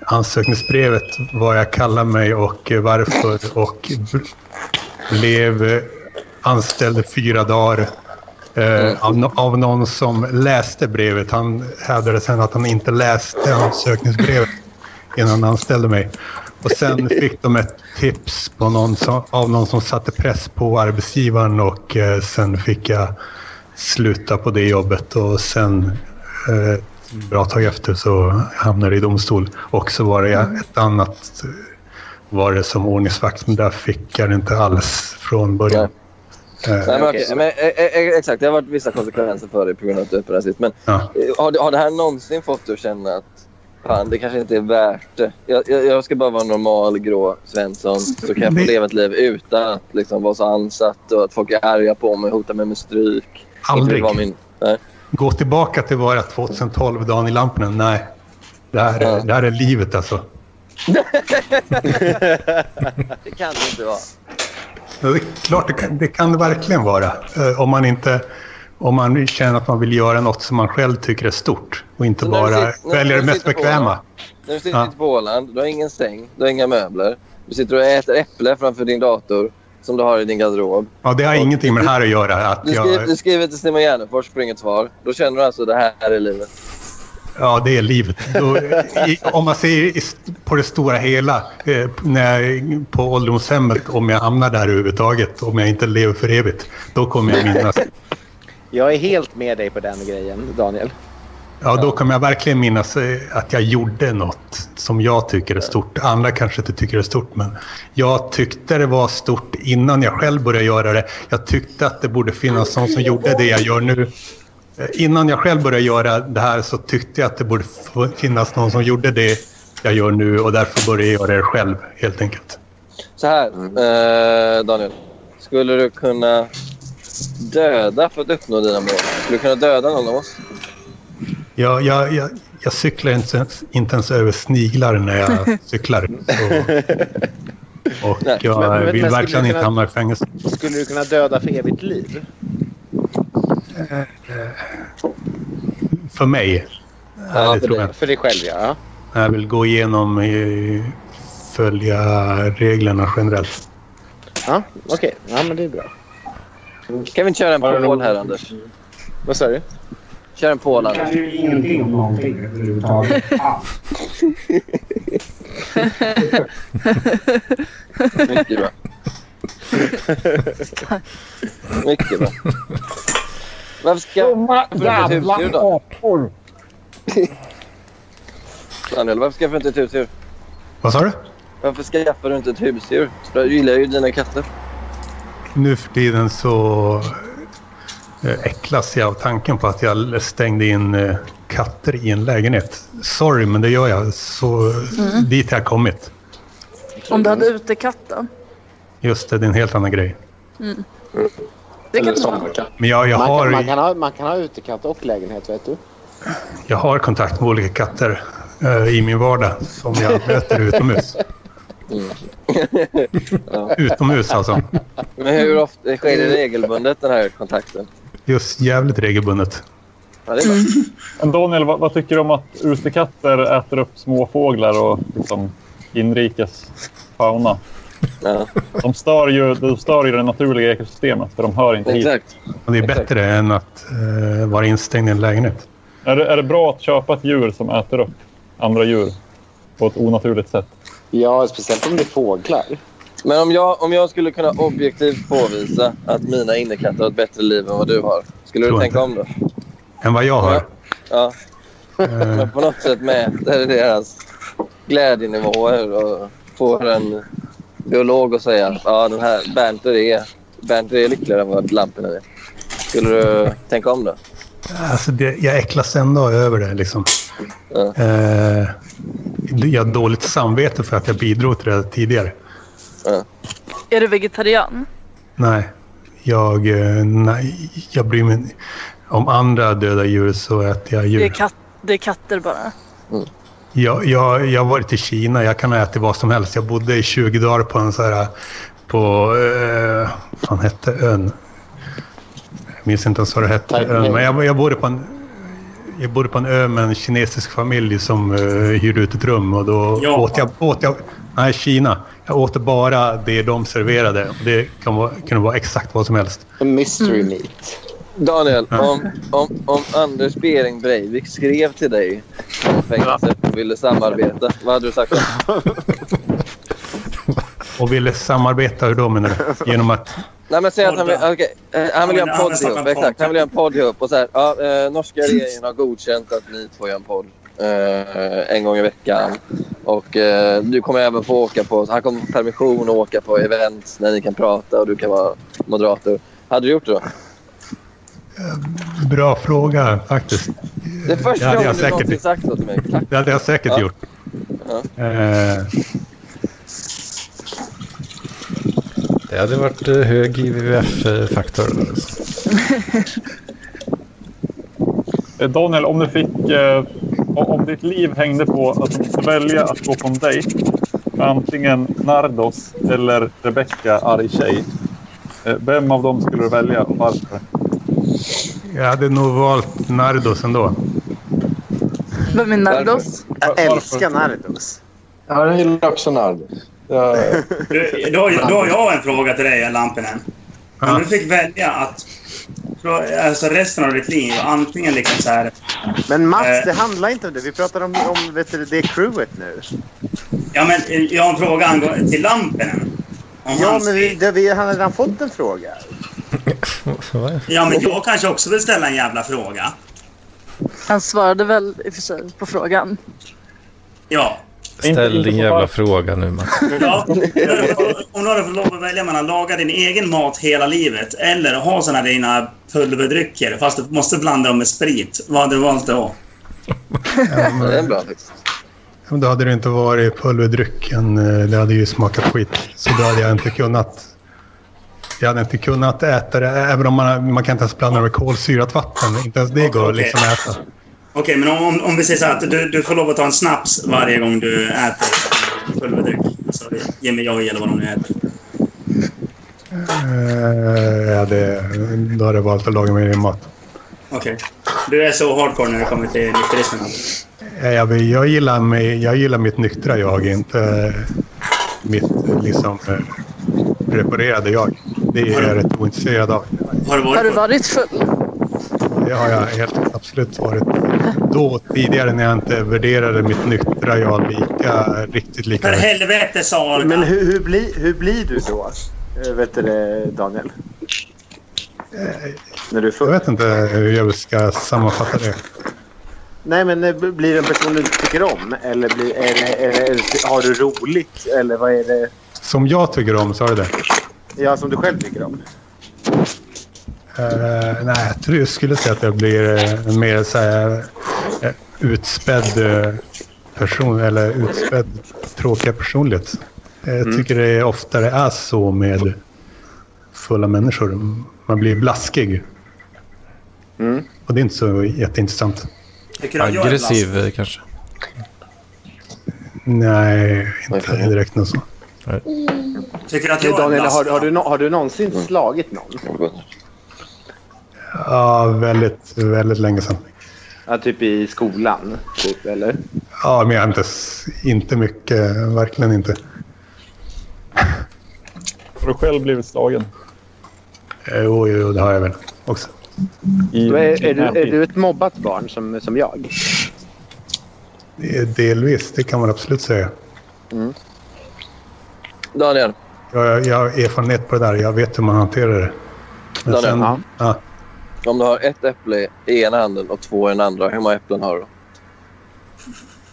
S13: ansökningsbrevet vad jag kallar mig och eh, varför och bl- blev eh, anställd i fyra dagar eh, av, no- av någon som läste brevet. Han hävdade sen att han inte läste ansökningsbrevet innan han anställde mig. Och sen fick de ett tips på någon som, av någon som satte press på arbetsgivaren och eh, sen fick jag sluta på det jobbet och sen eh, ett bra tag efter så hamnade jag i domstol. Och så var det ett annat eh, var det som ordningsvakt, men där fick jag det inte alls från början. Eh,
S10: Nej, men, okej, men, eh, eh, exakt, det har varit vissa konsekvenser för dig på grund av att du är öppenrasist. Men
S13: Ja.
S10: eh, har, det- har det här någonsin fått dig att känna att fan, det kanske inte är värt det? Jag, jag, jag ska bara vara en normal grå Svensson så kan jag få
S13: Det-
S10: leva ett liv utan att liksom, vara så ansatt och att folk är arga på mig och hotar mig med stryk. Inte
S13: Aldrig.
S10: vill vara Min, nej.
S13: Gå tillbaka till vad det var 2012, dagen i Lampinen. Nej, det här, är, det här är livet alltså.
S10: det kan det inte vara.
S13: Ja, Det är klart, det kan det, kan det verkligen vara. Eh, Om man, inte, om man känner att man vill göra något som man själv tycker är stort och inte
S10: Så när du
S13: bara
S10: sit- när-
S13: väljer
S10: när
S13: det
S10: du
S13: mest
S10: sitter på
S13: bekväma.
S10: Åland- När du sitter
S13: Ja.
S10: på Åland, du har ingen säng, du har inga möbler. Du sitter och äter äpple framför din dator som du har i din garderob.
S13: Ja, det har ingenting med det här att göra. Att
S10: Du skriver,
S13: jag,
S10: du skriver till Simon Gärdenfors och får inget svar. Då känner du alltså det här är livet.
S13: ja, det är livet. Då, i, om man ser i, på det stora hela, eh, när, jag- på ålderdomshemmet, om jag hamnar där överhuvudtaget, om jag inte lever för evigt, då kommer jag minnas.
S12: Jag är helt med dig på den grejen, Daniel.
S13: Ja, då kommer jag verkligen minnas eh, att jag gjorde något som jag tycker är stort. Andra kanske inte tycker är stort, men jag tyckte det var stort innan jag själv började göra det. Jag tyckte att det borde finnas någon som gjorde det jag gör nu. Eh, Innan jag själv började göra det här så tyckte jag att det borde f- finnas någon som gjorde det jag gör nu och därför började jag göra det själv, helt enkelt.
S10: Så här,
S17: Mm.
S10: eh, Daniel. Skulle du kunna döda för att uppnå dina mål? Skulle du kunna döda någon av oss?
S13: Jag, jag, jag, jag cyklar inte ens, inte ens över sniglar när jag cyklar. Mm. Så, och
S12: Nej,
S13: jag
S12: men-
S13: vill
S12: men- men skulle
S13: verkligen
S12: du
S13: inte
S12: kunna-
S13: hamna i fängelse.
S12: Skulle du kunna döda för evigt liv?
S13: Eh, För mig.
S17: Ja,
S13: det
S17: för,
S13: tror jag
S17: dig,
S13: inte.
S17: för dig själv ja.
S13: Jag vill gå igenom eh, följa reglerna generellt.
S17: Ja, okej. Ja, men det är bra. Kan vi inte köra en pål här, Anders? Vad sa du? Kör en pål,
S14: Jag
S17: Anders.
S14: kan ju ingenting om någonting överhuvudtaget.
S10: Mycket bra. Mycket bra. Varför ska...
S7: Dumma
S10: varför ska jag ta husdjur
S7: jävla
S10: då?
S7: apor.
S10: Daniel, varför skaffar du inte ett husdjur?
S13: Vad sa du?
S10: Varför skaffar du inte ett husdjur? Du gillar ju dina katter.
S13: Nu för tiden så eh, äcklas jag av tanken på att jag stängde in eh, katter i en lägenhet. Sorry, men det gör jag. Så
S15: Mm.
S13: dit har jag kommit.
S10: Mm.
S15: Om du hade utekatt då?
S13: Just det, det är en helt annan grej.
S15: Mm. Det kan du ha.
S13: Men jag, jag,
S12: man, kan, man,
S13: har,
S12: kan ha, man kan ha utekatt och lägenhet, vet du.
S13: jag har kontakt med olika katter eh, i min vardag som jag möter utomhus.
S10: Ja.
S13: Utomhus alltså.
S10: Men hur ofta sker det regelbundet den här kontakten?
S13: Just jävligt regelbundet.
S10: Ja, det är bra.
S8: Men Daniel, vad, vad tycker du om att utekatter äter upp småfåglar och liksom inrikes fauna? De, stör ju, de stör ju det naturliga ekosystemet för de hör inte hit.
S13: Och det är bättre än att eh, vara instängd i en lägenhet.
S8: Är det, är det bra att köpa ett djur som äter upp andra djur på ett onaturligt sätt?
S12: Ja, speciellt om det är fåglar.
S10: Men om jag, om jag skulle kunna objektivt påvisa att mina innekatter har ett bättre liv än vad du har. Skulle du
S13: Tror
S10: tänka om då?
S13: Än vad jag har.
S10: Ja.
S13: Eh,
S10: Men på något sätt mäter deras glädjenivåer och får en biolog att säga att ja, den här Bernter är, Bernter är lyckligare än vad lamporna är. Skulle du tänka om då?
S13: Alltså det, jag äcklas ändå över det. Liksom.
S10: Ja.
S13: Eh, jag har dåligt samvete för att jag bidrog till det tidigare.
S15: Är du vegetarian?
S13: Nej, jag, eh, nej, jag bryr mig Om andra döda djur så äter jag
S15: Det är,
S13: djur.
S15: kat- det är katter bara.
S13: Jag, jag, jag har varit i Kina. Jag kan ha ätit vad som helst. Jag bodde i 20 dagar på en så här... På... Eh, vad fan hette ön? Jag minns inte ens vad det hette.
S12: Taipei.
S13: Ön, men jag, jag bodde på en... Jag bodde på en ö med en kinesisk familj som eh, hyrde ut ett rum och då
S12: Japan.
S13: åt jag, åt jag... Nej, Kina. Jag åt bara det de serverade. Och Det kan vara, kunde vara exakt vad som helst.
S12: Mystery meat.
S10: Daniel, om, om, om Anders Bering Breivik skrev till dig från fängelset och ville samarbeta, vad hade du sagt då?
S13: Och ville samarbeta, hur då menar du? Genom att...
S10: Nej men säg att han vill, okej, eh, han vill göra
S13: Han
S10: en podd
S13: vill-
S10: ihop.
S13: han vill starta en
S10: Exakt, han vill göra en podd ihop. Och så här, ja, eh, norska regeringen har godkänt att ni två gör en podd eh, en gång i veckan. Och eh, du kommer även få åka på, han kommer få permission och åka på event när ni kan prata och du kan vara moderator. Hade du gjort det då?
S13: Bra fråga faktiskt.
S10: Det är första
S13: Ja, det är
S10: gången du
S13: säkert.
S10: någonsin sagt så till mig. Tack.
S13: Det hade jag säkert
S10: Ja.
S13: gjort.
S10: Ja.
S13: Eh,
S4: Det hade varit eh, hög IVF-faktor.
S8: Eh, Daniel, om du fick... Eh, o- om ditt liv hängde på att du måste välja att gå på en dejt med antingen Nardos eller Rebecca, arg tjej. Eh, vem av dem skulle du välja och varför?
S13: jag hade nog valt Nardos ändå.
S15: Vem är Nardos?
S17: Jag
S12: älskar Nardos.
S6: Ja, jag gillar också Nardo. Ja.
S5: Du, då, har- då har jag en fråga till dig, Lampinen. Om du fick välja att... frå- Alltså resten av ditt liv, antingen liksom så här...
S17: Men
S12: Mats,
S5: Eh.
S12: det handlar inte om det. Vi pratar om, om vet du, det crewet nu.
S5: Ja, men eh, jag har en fråga angå- till Lampinen. Om
S12: Ja,
S5: hans-
S12: men vi, det, vi har redan fått en fråga.
S5: ja, men jag kanske också vill ställa en jävla fråga.
S15: Han svarade väl i och för sig på frågan.
S5: Ja.
S4: Ställ din jävla fråga nu Mats.
S5: Ja, om du hade fått lov att välja mellan att laga din egen mat hela livet eller ha såna här dina pulverdrycker fast du måste blanda dem med sprit. Vad hade du valt då?
S10: Det är bra faktiskt.
S13: Men Då hade det inte varit pulverdrycken. eh, Det hade ju smakat skit. Så då hade jag inte kunnat... Jag hade inte kunnat äta det. Även om man, man kan inte ens blanda det med kolsyrat vatten. Inte ens det går att liksom äta.
S5: Okej, men om- om, om vi säger så här att du, du får lov att ta en snaps varje gång du äter pulverdryck. Alltså Jimmy Joy eller vad de nu heter.
S13: Eh, jag hade, då hade jag valt att laga mig egen mat.
S5: Okej. Du är så hardcore när det kommer till nykterismen alltså?
S13: Eh, Jag, vill- jag, gillar mig, jag gillar mitt nyktra jag, inte eh, mitt eh, liksom, eh, preparerade jag. Det är jag rätt ointresserad av.
S5: Har du
S15: Har du varit full?
S13: Det har jag helt absolut varit. Då tidigare när jag inte värderade mitt nyktra jag lika, riktigt lika
S5: För helvete sa
S12: Men hur, hur, bli, hur blir du då? Eh, Vet du det, Daniel? När du
S13: Jag vet inte hur jag ska sammanfatta det.
S12: Nej, men eh, blir det en person du inte tycker om? Eller, blir, eller, eller, eller har du roligt? Eller vad är det?
S13: Som jag tycker om, sa du det?
S12: Ja, som du själv tycker om.
S13: Eh, nej, jag tror jag skulle säga att jag blir eh, en mer så här, eh, utspädd eh, person eller utspädd tråkiga personlighet. Eh, Jag
S12: Mm.
S13: tycker det oftare är så med fulla människor. Man blir blaskig
S1: Mm.
S13: och det är inte så jätteintressant.
S5: Tycker du att jag är
S4: Aggressiv eh, kanske.
S13: Nej, inte direkt något så.
S5: blaskig? Tycker du att jag är
S12: Daniel, har,
S5: blaskig?
S12: har, du, no- har du någonsin slagit någon?
S13: Ja, väldigt, väldigt länge sedan.
S12: Ja, typ i skolan, typ, eller?
S13: Ja, men jag har inte, s- inte mycket, verkligen inte.
S8: Har du själv blivit slagen?
S13: Eh, Jo, jo, det har jag väl också.
S12: Då är, är, du, är du ett mobbat barn som, som jag?
S13: Eh, Delvis, det kan man absolut säga.
S10: Daniel.
S13: Jag, jag har erfarenhet på det där. Jag vet hur man hanterar det. Men
S10: Daniel,
S13: sen,
S10: ja.
S13: ja,
S10: Om du har ett äpple i ena handen och två i den andra, hur många äpplen har du?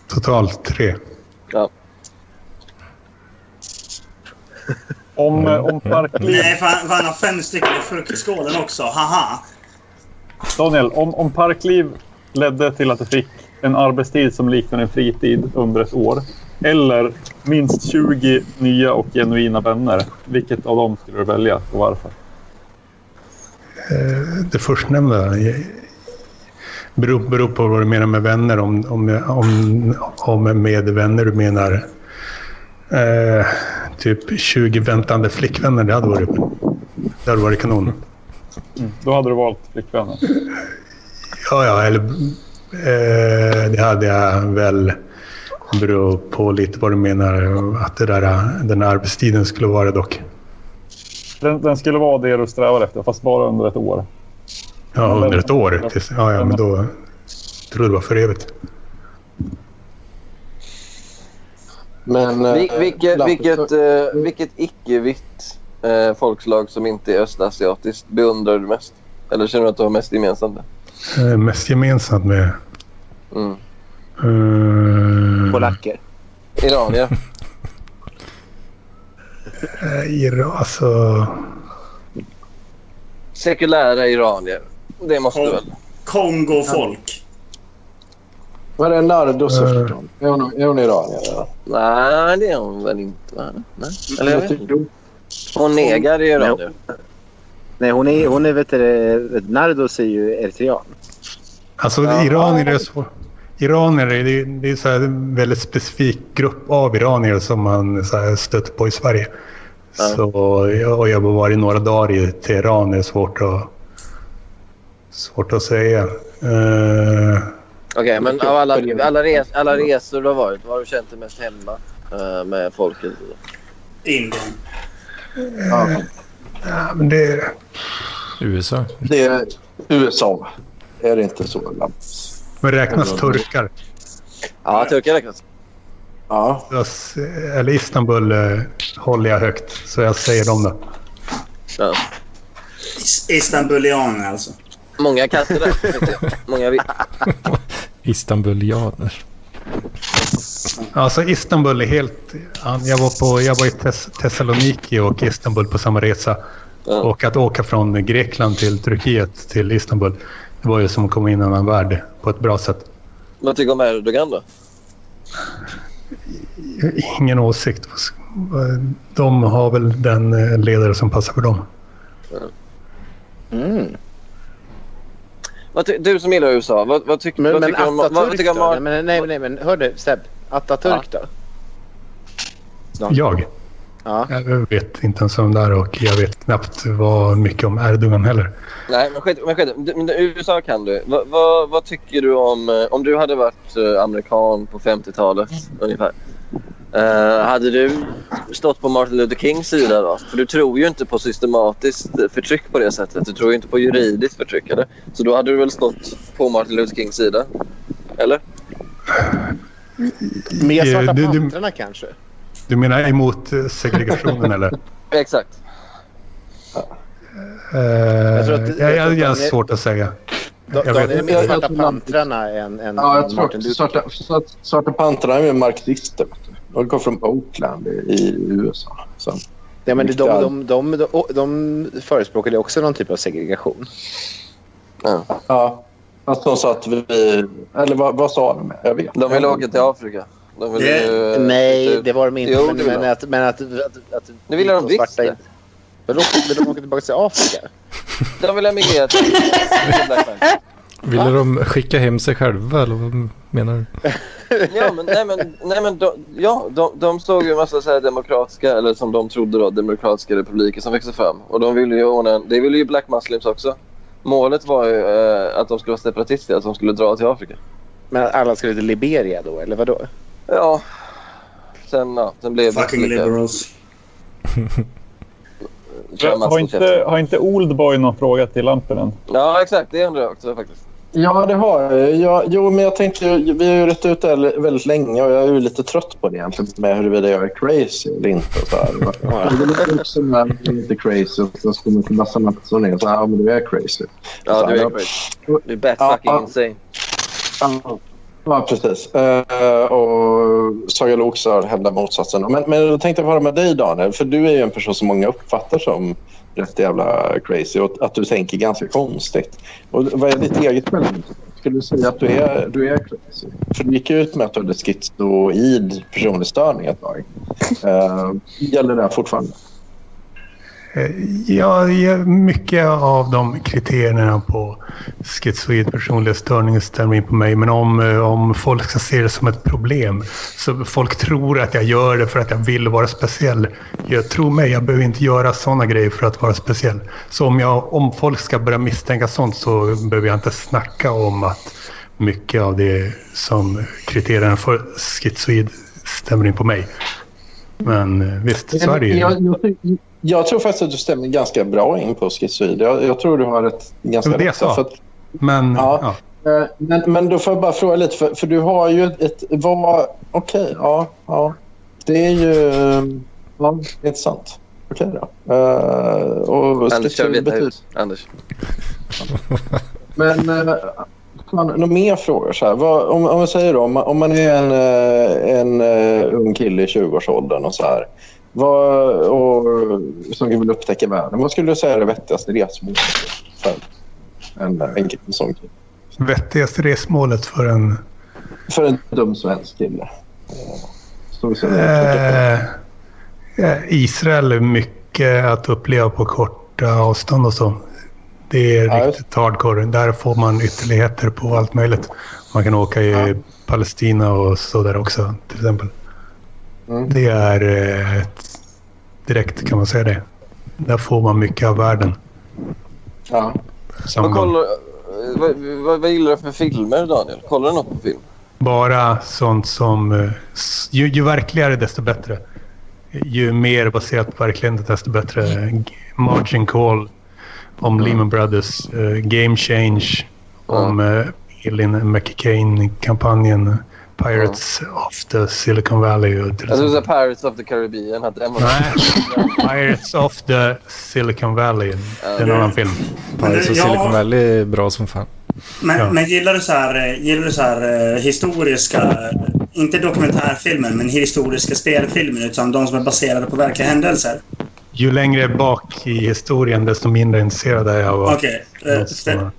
S13: totalt tre.
S10: Ja.
S8: Om, eh, om parkliv...
S5: Nej, för han, för han har fem stycken i fruktskålen också. Haha!
S8: Daniel, om, om Parkliv ledde till att du fick en arbetstid som liknar en fritid under ett år eller minst 20 nya och genuina vänner, vilket av dem skulle du välja och varför?
S13: Eh, Det förstnämnda eh, beror, beror på vad du menar med vänner. Om, om, om, om med vänner du menar eh, typ 20 väntande flickvänner. Det hade varit, det hade varit kanon.
S8: Då hade du valt flickvännen.
S13: Ja, ja, eller... Eh, det hade jag väl. Beror på lite vad du menar att det där, eh, den här arbetstiden skulle vara dock.
S8: Den, den skulle vara det du strävar efter, fast bara under ett år.
S13: Ja, under ett år. Tills, ja, ja, men då tror jag det var för evigt.
S6: Men, eh,
S10: Vil- vilket,
S6: Lasse,
S10: vilket, eh, vilket icke-vitt eh, folkslag som inte är östasiatiskt beundrar du mest? Eller känner du att du har mest gemensamt? med?
S13: Eh, mest gemensamt med...
S10: Mm.
S13: Eh,
S12: Polacker?
S10: Iranier?
S13: Eh, Iran, alltså...
S10: Sekulära iranier. Det måste du väl?
S5: Kongo-folk.
S6: Var är Nardo Sörton? Är hon- är hon iranier? eller?
S10: Nej, det är hon väl inte? va? Nej. Eller jag vet inte.
S12: Jo.
S10: Hon negar är iranier.
S12: Nej, hon är, hon är vet du, det, Nardos är ju eritrean.
S13: Alltså iranier är så... Iranier, det är, det är så här en väldigt specifik grupp av iranier som man så här stöter på i Sverige. Så, jag- och jag har varit några dagar i Teheran. Det är svårt att, svårt att säga. Eh,
S10: Okej, men av alla, alla, res, alla resor du har varit, vad har du känt dig mest hemma eh, med folket?
S5: Indien.
S6: Ja.
S13: ja, men det,
S4: USA.
S6: Det är USA. Är det inte så? Lantz?
S13: men räknas turkar?
S10: Ja, turkar räknas.
S6: Ja.
S13: Jag, s- eller Istanbul eh, håller jag högt, så jag säger dem då.
S10: Ja.
S5: Is- Istanbulianer alltså.
S10: Många katter där. vet jag. Många vi...
S4: Istanbulianer.
S13: Alltså Istanbul är helt... an- Jag var, på, jag var i Tes- Thessaloniki och Istanbul på samma resa. Och att åka från Grekland till Turkiet till Istanbul, det var ju som att komma in i en annan värld på ett bra sätt.
S10: Vad tycker du om Erdogan då?
S13: Ingen åsikt. De har väl den eh, ledare som passar för dem.
S10: Mm. Vad ty- du som gillar USA, vad, vad, tyck,
S12: Men,
S10: vad
S12: men
S10: tycker du om... Vad, vad
S12: Atatürk
S10: tycker du om
S12: då?
S10: Mar-
S12: Nej, men, nej, nej, men hör du Seb. Atatürk då?
S13: Jag? Jag vet inte ens om det är och jag vet knappt vad mycket om Erdogan heller.
S10: Nej, men skit men skit Du- men USA kan du. Va, va, vad tycker du om... eh, Om du hade varit eh, amerikan på 50-talet ungefär. Eh, hade du stått på Martin Luther Kings sida då? För du tror ju inte på systematiskt eh, förtryck på det sättet. Du tror ju inte på juridiskt förtryck. Eller? Så då hade du väl stått på Martin Luther Kings sida? Eller?
S13: Med Svarta Eh, Du- du-
S17: pantrarna kanske?
S13: Du menar emot eh, segregationen eller?
S10: Exakt.
S13: Eh,
S17: Jag
S13: jag,
S17: tror att-
S13: jag,
S17: jag
S13: jag,
S17: tror
S13: har
S17: att-
S13: svårt att säga.
S17: De,
S13: Jag
S17: de
S13: vet
S17: är
S13: inte.
S17: mer Svarta pantrarna än, än
S16: Ja, jag
S17: än
S16: tror att Svarta, Svart- svarta Pantrarna är ju marxister. vet du. De kom från Oakland i, i USA. Så.
S17: Nej, men de, de, de, de, de förespråkade också någon typ av segregation.
S10: Ja.
S16: ja. Fast de sa att vi... Eller vad, vad sa de? Jag vet
S10: De ville åka till Afrika. De ville ju, eh,
S17: nej,
S10: ut-
S17: det var de inte.
S10: Jo,
S17: men,
S10: det
S17: men
S10: var-
S17: att, men att, att, att
S10: Nu vill de visst det.
S17: Vill de, vill de åka tillbaka till Afrika?
S10: De ville emigrera till...
S4: Ville de skicka hem sig själva eller vad menar du?
S10: ja, men, nej, men, nej, men de, ja, de, de såg ju en massa så här demokratiska, eller som de trodde då, demokratiska republiker som växte fram. Och de ville ju ordna, en- det ville ju Black Muslims också. Målet var ju eh, att de skulle vara separatister, att de skulle dra till Afrika.
S17: Men alla skulle till Liberia då, eller vadå?
S10: Ja, sen, ja, sen blev det...
S17: Fucking
S5: liberals.
S8: Har inte, har inte Oldboy någon fråga till Lampinen?
S10: Ja, exakt. Det undrar jag också faktiskt.
S16: Ja, det har jag. jag. Jo, men jag tänkte, vi har ju rätt ut det här väldigt länge och jag är ju lite trött på det egentligen med huruvida jag är crazy eller inte. och Så här. Det är lite också när man är lite crazy och så kommer det till massa människor som är så här, ja men du är crazy.
S10: Ja,
S16: Så
S10: du
S16: här,
S10: är crazy. Du är bat fucking
S16: Ja, ja.
S10: insane.
S16: Ja, Ja, precis. Eh, och Saga Lox har hävdat motsatsen. Men, men jag tänkte höra med dig, Daniel. För du är ju en person som många uppfattar som rätt jävla crazy och att du tänker ganska konstigt. Och vad är ditt eget mellanrum? Skulle du säga att du är, du är crazy? För du gick ju ut med att du hade schizoid personlighetsstörning ett tag. Eh, gäller det här fortfarande?
S13: Eh, Ja, ja, mycket av de kriterierna på schizoid personlighetsstörning stämmer in på mig. Men om, eh, om folk ska se det som ett problem, så folk tror att jag gör det för att jag vill vara speciell. Jag tror mig, jag behöver inte göra sådana grejer för att vara speciell. Så om, jag, om folk ska börja misstänka sånt så behöver jag inte snacka om att mycket av det som kriterierna för schizoid stämmer in på mig. Men eh, visst, så är det ju.
S16: Jag, jag, jag tror faktiskt att du stämmer ganska bra in på schizoid. Jag, jag tror du har ett ganska
S13: Det var det jag
S16: rätt sätt,
S13: sa.
S16: för att-
S13: Men ja.
S16: Eh, Men, men då får jag bara fråga lite, för, för du har ju ett... ett vad, Okej, ja, ja. Det är ju... eh, Ja, det är intressant. Okej då. Eh, och
S10: Anders, jag vet
S16: betyder-
S10: inte. Anders.
S16: Men eh, fan, några mer frågor? Så här. Vad, om, om jag säger då, om man, om man är en, eh, en eh, ung kille i 20-årsåldern och så här. Vad, och, som vill upptäcka världen. Vad skulle du säga är det vettigaste resmålet för en, en, en sån kille?
S13: vettigaste resmålet för en...
S16: För en dum svensk kille. Som så-
S13: Eh, eh, Israel är mycket att uppleva på korta avstånd och så. Det är riktigt hardcore. Där får man ytterligheter på allt möjligt. Man kan åka i Palestina och så där också till exempel. Det är eh, ett, direkt kan man säga det. Där får man mycket av världen.
S16: Ja.
S10: Vad,
S13: Samma gång.
S10: kollar, eh, vad, vad, vad gillar du för filmer, Daniel? Kollar du något på film?
S13: Bara sånt som... eh, s- Ju, ju verkligare desto bättre. Ju mer baserat på verkligheten desto bättre. G- Margin Call om Lehman Brothers. eh, Game Change om eh, Elin McCain-kampanjen. eh, Pirates of the Silicon Valley. och till
S10: Jag skulle
S5: Alltså-
S13: exempel.
S10: säga Pirates of the Caribbean. Att den var...
S13: liksom. Pirates of the Silicon Valley. Det är en
S5: Ja.
S13: annan film.
S5: Pirates of Ja. Silicon
S4: Valley är bra som fan.
S5: Men,
S13: Ja.
S5: men gillar du så här, eh, gillar du så här eh, historiska, eh, inte dokumentärfilmer, men historiska spelfilmer, utan de som är baserade på verkliga händelser?
S13: Ju längre bak i historien desto mindre intresserad är jag av att-
S5: Okej. eh, för-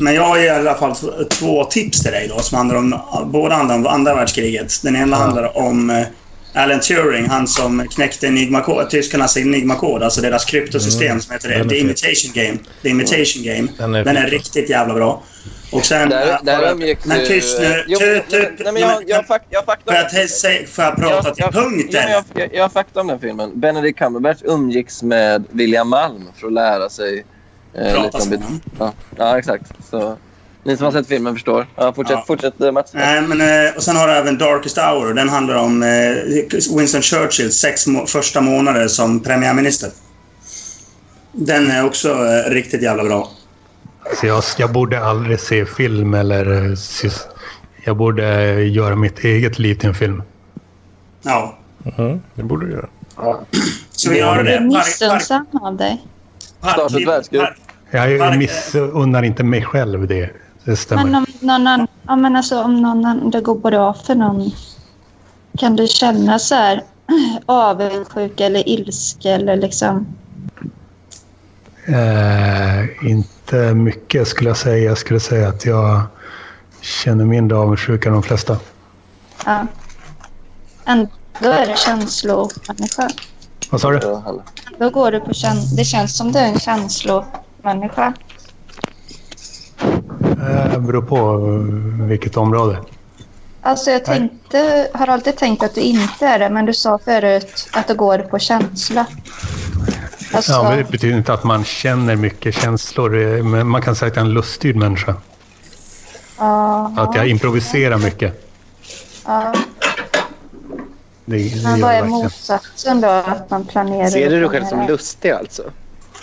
S5: Men jag har i alla fall t- två tips till dig då, som handlar om, båda handlar om andra världskriget. Den ena handlar om eh, Alan Turing, han som knäckte Enigma-ko- tyskarnas Enigma-kod, alltså deras kryptosystem
S4: Mm.
S5: som heter
S4: Den
S5: det,
S4: är
S5: The
S4: fet.
S5: Imitation Game. The Imitation Game.
S4: Den är
S5: Den är
S4: fet.
S5: riktigt jävla bra. Och sen...
S10: Där- där umgicks
S5: men typ-
S10: ju-
S5: Kirstner...
S10: Jo,
S5: tu- tu-
S10: Nej, men jag, jag, fak, jag fakta
S5: Får jag te- se- får jag prata till punkt
S10: Ja, men
S5: eller?
S10: jag, jag, jag har fakta om den filmen. Benedict Cumberbatch umgicks med William Malm för att lära sig... eh,
S5: Prata som
S10: bet- ja, ja, exakt. Så, ni som har sett filmen förstår. Ja, fortsätt,
S5: Ja.
S10: fortsätt eh, Mats.
S5: Nej, men, eh, och sen har du även Darkest Hour. och Den handlar om eh, Winston Churchills sex må- första månader som premiärminister. Den är också eh, riktigt jävla bra.
S13: Så jag, jag borde aldrig se film eller... sys- Jag borde göra mitt eget liv till en film.
S5: Ja.
S4: Mm, det borde du göra.
S5: Så vi har
S1: Jag blir
S5: det. Park, park,
S1: missunnsam av dig.
S5: park, park,
S13: Jag missunnar inte mig själv det. Det
S1: Men
S13: stämmer.
S1: om någon annan, ja, men alltså, om någon annan, det går bra för någon, kan du känna så här avundsjuka eller ilska eller liksom?
S13: Eh, inte mycket skulle jag säga. Jag skulle säga att jag känner mindre avundsjuka än de flesta.
S1: Ja. Ändå är det känslomänniska.
S13: Vad sa du?
S1: Då går du på käns- Det känns som du är en känslomänniska.
S13: Eh, beror på vilket område.
S1: Alltså jag
S13: Nej.
S1: tänkte, har alltid tänkt att du inte är det, men du sa förut att det går på känsla. Alltså,
S13: Ja, men det betyder inte att man känner mycket känslor. eh, Men man kan säga att jag är en luststyrd människa.
S1: aha,
S13: Att jag improviserar mycket.
S1: ja.
S13: Det, det gör
S1: Men
S13: jag
S1: vad är
S13: verkligen.
S1: motsatsen då? Att man planerar...
S12: Ser du dig själv
S1: och
S12: som
S1: planerar?
S12: lustig alltså?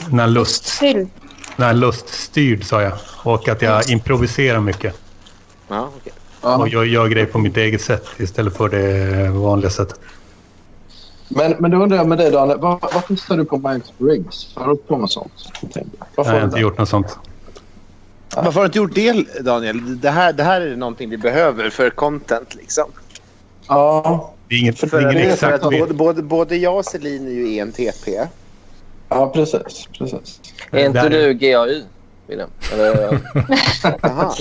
S13: När lust,
S1: Fylld.
S13: när luststyrd sa jag. Och att jag improviserar mycket.
S12: Ja, okej.
S13: Och jag gör grejer på mitt eget sätt istället för det vanliga sättet.
S16: Men, men då undrar jag med dig, Daniel. Var, varför står du på Mike Briggs? Har du hållit på med sånt?
S13: Jag
S16: Varför
S13: har inte gjort något sånt.
S12: Varför har du inte gjort det, Daniel? Det här, det här är någonting vi behöver för content. liksom.
S16: Ja.
S13: Det är inget, det
S12: För
S13: är
S12: att,
S13: ingen
S12: för
S13: exakt
S12: att både,
S13: bild.
S12: både, både jag och Celine är ju ENTP.
S16: Ja, precis. precis.
S10: Är inte
S13: Där-
S10: du GAI, William? Eller,
S12: Aha.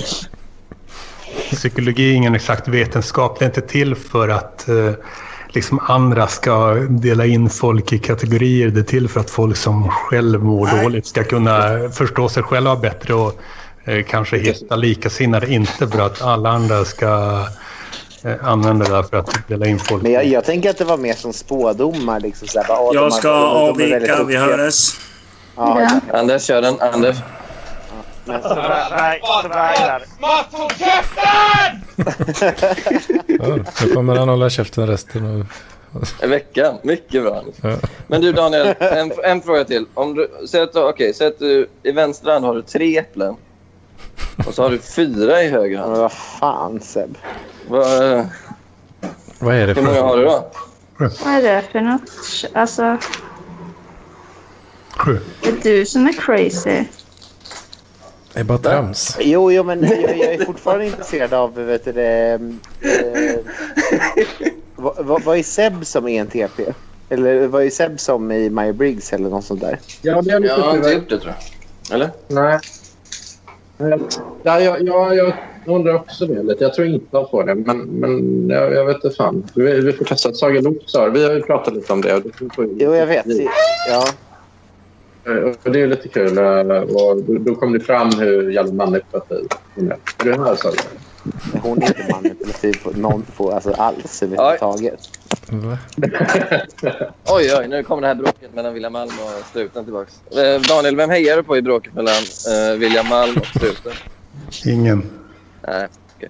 S13: Psykologi är ingen exakt vetenskap. Det är inte till för att eh, liksom andra ska dela in folk i kategorier. Det är till för att folk som själv mår dåligt ska kunna förstå sig själva bättre och eh, kanske hitta likasinnade. Inte för att alla andra ska eh, använda det där för att dela in folk.
S12: Men jag, jag tänker att det var mer som spådomar. Liksom, så här, bara, "Ah, de
S5: Jag
S12: här-
S5: ska
S12: de- de är väldigt
S5: avvika, vi
S12: duktiga."
S5: hörs.
S12: Ja,
S5: Ja.
S12: exakt.
S10: Anders, kör den. Anders.
S2: Mats, håll käften!
S4: Ja, nu kommer han hålla käften resten av...
S10: I veckan. Mycket bra. Anders.
S4: Ja.
S10: Men du Daniel, en, en fråga till. Om du, säg, att, du- okej, säg att du i vänster hand har du tre äpplen. Och så har du fyra i höger hand.
S12: Men vad fan Seb?
S10: Vad,
S4: Vad är
S10: hur
S4: det för...
S10: många har du då?
S1: Vad är det för något? Alltså...
S13: Sju.
S1: Det är du som är crazy.
S4: Det är bara trams.
S12: Jo, jo, men jag, jag är fortfarande intresserad av... Vet du, det, eh, vad, vad, vad är Seb som ENTP? Eller vad är Seb som i Maya Briggs eller något sånt där?
S16: Ja, det är lite
S10: Jag har inte
S16: tyvärr.
S10: gjort det tror jag. Eller?
S16: Nej. Eh, Nej, Ja, jag, jag, jag undrar också det lite. Jag tror inte jag får det, men, men jag, jag vet inte fan. Vi, vi får testa. Saga Loops har vi har ju pratat lite om det. Eh,
S12: Jo, jag vet. Ja.
S16: Och det är ju lite kul. eh, Och då- då kom det fram hur jävla manipulativ hon är. Är du här, Saga?
S12: Hon är inte manipulativ på, någon, på, alltså, alls överhuvudtaget.
S10: Oj, oj, nu kommer det här bråket mellan William Malm och struten tillbaks. Eh, Daniel, vem hejar du på i bråket mellan eh, William Malm och struten?
S13: Ingen.
S10: Nej, okej.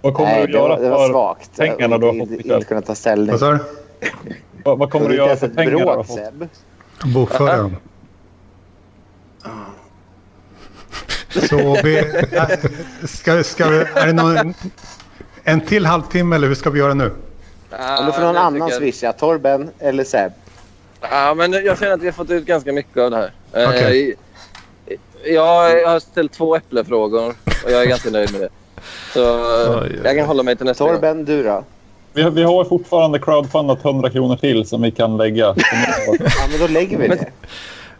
S8: Vad kommer
S12: Nej,
S8: du göra
S12: det var- det var
S8: för
S12: svagt.
S8: pengarna du har fått ikväll?
S12: Inte kunna ta ställning. Vad
S13: sa du?
S8: Vad, vad kommer
S12: Så
S8: du
S12: det är
S8: göra
S12: inte
S8: för
S12: ens ett
S8: pengarna du har
S12: bråk,
S8: fått?
S12: Seb.
S13: Bokföra dem. Så vi... äh, Ska, ska vi... Är det någon, en till halvtimme eller hur ska vi göra nu?
S12: Om du får någon
S10: jag
S12: annan
S10: tycker-
S12: swisha, Torben eller Seb.
S10: Ja, men jag känner att vi har fått ut ganska mycket av det här. Eh,
S12: Okej.
S10: Jag, jag har ställt två äpplefrågor och jag är ganska nöjd med det. Så eh, jag kan hålla mig till nästa gång.
S12: Torben, du då?
S8: Vi, vi har fortfarande crowdfundat 100 kronor till som vi kan lägga.
S12: Ja, men då lägger vi det.
S8: Vi,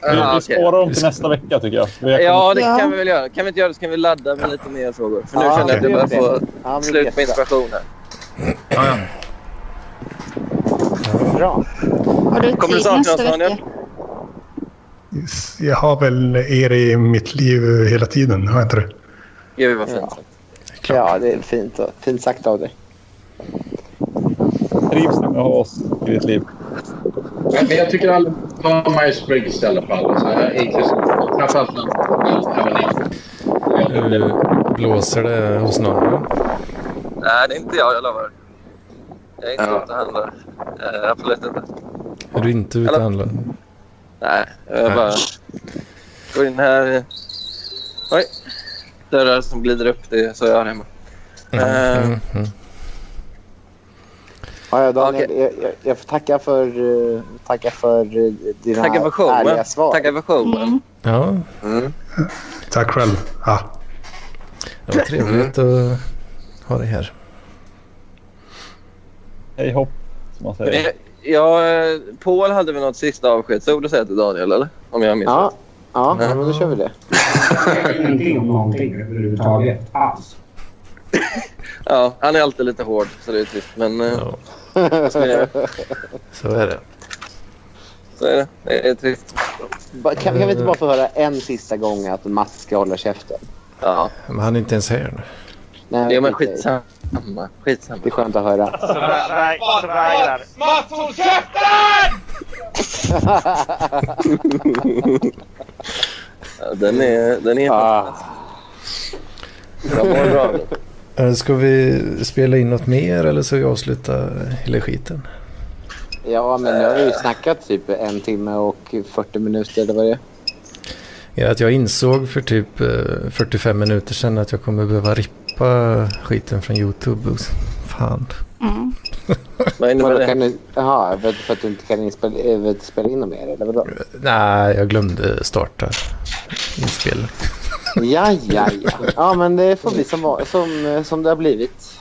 S10: Ja,
S8: vi
S10: okej.
S8: sparar dem till nästa vecka tycker jag. Vi har
S10: Ja, det
S8: kommit-
S10: kan vi väl göra. Kan vi inte göra det så kan vi ladda med lite mer frågor. För nu
S8: Ja,
S10: känner jag att jag
S8: okej.
S10: börjar få
S12: Ja, men
S10: slut på
S12: jättebra.
S10: inspiration här.
S12: Bra.
S1: Har du
S10: Kommer du
S1: tid
S10: sakna oss,
S1: nästa
S10: Daniel?
S1: vecka?
S13: Jag har väl er i mitt liv hela tiden, har jag inte det?
S10: Gud vad fint.
S12: Ja, det är fint, fint sagt av dig.
S8: Trivs du med oss i ditt liv?
S16: Men, men jag tycker alla har Myers Briggs i alla fall. Så här, inklusive- Framförallt när
S4: Eh, Blåser det hos någon?
S10: Nej, det är inte jag, jag lovar. Jag är inte ute och handlar. Eh, absolut inte.
S4: Är du inte ute och handlar?
S10: Nej, jag
S4: Nej.
S10: bara går in här. Oj! Dörrar som glider upp, det är så jag har hemma. Eh,
S4: Mm, mm.
S12: Ja, ja, Daniel, jag, jag, jag får tacka för, eh, tacka för eh, dina
S10: Tacka för showen.
S12: ärliga svar.
S10: Tacka för showen.
S4: Ja.
S13: Tack själv. Ah.
S4: Det var trevligt att ha dig här.
S8: Hej hopp, som man säger.
S10: Eh, Ja, eh, Paul hade väl något sista avskedsord att säga till Daniel, eller? Om jag minns
S12: Ja, ja, ja, men då kör vi det.
S14: Ingenting om någonting överhuvudtaget. Alls.
S10: Ja, han är alltid lite hård, så det är trist. Men eh, vad ska jag göra?
S4: Så är det.
S10: så är det. Det är trist.
S12: Ba- Kan, kan vi inte bara få höra en sista gång att Mats ska hålla käften?
S10: Ja.
S4: Men han är inte ens här nu.
S12: Nej,
S10: Jo, men
S12: skit i det.
S10: skitsamma. skitsamma.
S12: Det är skönt att höra.
S2: Mats, Mats, håll käften!
S10: Ja, Den är... Den är ah. Jag mår bra. nu.
S4: Eh, Ska vi spela in något mer eller ska vi avsluta hela skiten?
S12: Ja, men nu har vi ju snackat typ en timme och 40 minuter eller vad det är.
S4: Ja, att jag insåg för typ eh, 45 minuter sedan att jag kommer behöva rippa skiten från YouTube. och s- Fan.
S10: Vad innebär
S12: Vadå,
S10: det?
S12: kan du- Jaha, för, för att du inte kan inspela, eh, vet, spela in dem mer eller vadå?
S4: Nej, jag glömde starta inspel.
S12: Ja, ja, ja. Ja, men det får bli som, va- som, eh, som det har blivit.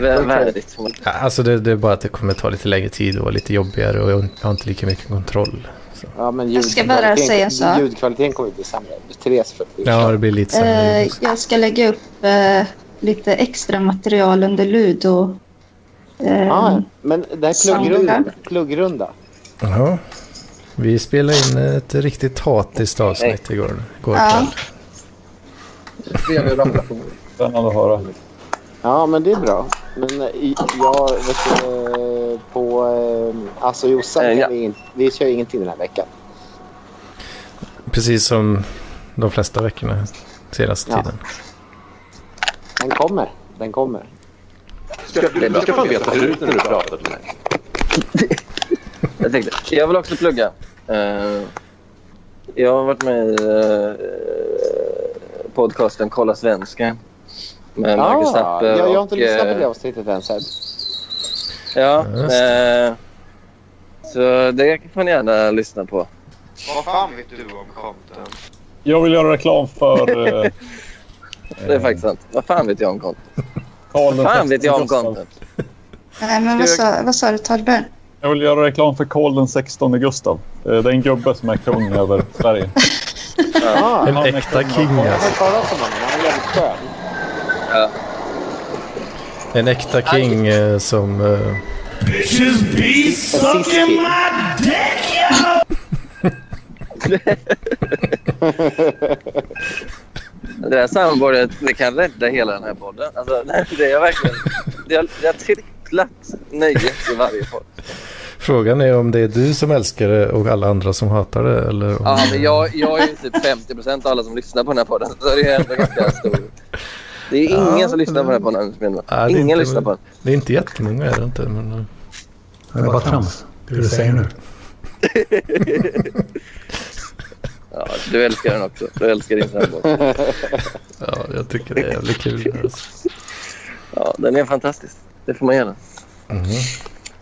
S10: Vä- Värdigt. får man-
S4: Ja, Alltså det, det är bara att det kommer ta lite längre tid och vara lite jobbigare och jag har inte lika mycket kontroll.
S12: Ja, men
S1: ska bara
S12: ljudkvaliteten-
S1: säga så.
S12: Ljudkvaliteten kommer ju bli sämre. Therese för
S4: Ja, det blir lite sämre.
S1: Eh, jag ska lägga upp eh, lite extra material under Ludo. Eh,
S12: Ja, men det här är pluggrunda. pluggrunda.
S4: Jaha. Vi spelade in ett riktigt hatiskt avsnitt igår, igår
S12: Ja.
S4: kväll.
S8: Spännande att höra.
S12: Ja, men det är bra. Men eh, i- jag vet du, på... eh, Alltså Jossan, kan vi, in, vi kör ingenting den här veckan.
S4: Precis som de flesta veckorna senaste
S12: Ja.
S4: tiden.
S12: Den kommer. Den kommer.
S16: Du ska fan veta hur när du pratar till mig.
S10: Jag tänkte, jag vill också plugga. Eh, jag har varit med i eh, podcasten Kolla Svenska. Med Marcus Zappe
S12: Ah, jag, jag har inte
S10: och,
S12: lyssnat på
S10: eh,
S12: det avsnittet än. Så här.
S10: Ja.
S12: Just
S10: eh, så det får ni gärna lyssna på.
S9: Vad fan vet du om content?
S8: Jag vill göra reklam för... eh,
S10: Det är faktiskt sant. Vad fan vet jag om content?
S8: Karl
S10: Vad fan
S8: den
S10: vet jag om
S8: Gustav.
S10: content?
S1: Nej, men vad sa, vad sa du Torben?
S8: Jag vill göra reklam för Karl den 16 Gustav. Eh, Det är en gubbe som är kung över Sverige.
S12: Ah.
S4: En
S8: Han är
S4: äkta
S8: kung.
S4: king
S12: Jag har
S4: alltså.
S12: hört talas om honom. Han är jävligt skön.
S4: En äkta king eh, som... eh,
S2: Bitches be sucking my dick, yo!
S10: Det där sambordet det kan rädda hela den här podden. Alltså, det är verkligen... Det har, det har tripplat nöjet i varje podd.
S4: Frågan är om det är du som älskar det och alla andra som hatar det eller om...
S10: Ja, men Alltså, jag, jag är ju typ 50 av alla som lyssnar på den här podden. Så det är ändå ganska stor. Det är ingen
S4: Ja,
S10: som lyssnar på den här podden. menar
S4: Ja, det är
S10: jag. Ingen
S4: inte-
S10: lyssnar på den.
S4: Det är inte jättemånga är det inte. Men, eh,
S13: Det är bara trams. Det du säger nu.
S10: Ja, du älskar den också. Du älskar din sambo.
S4: ja, jag tycker det är jävligt kul. Alltså.
S10: Ja, den är fantastisk. Det får man gärna.
S4: Mhm.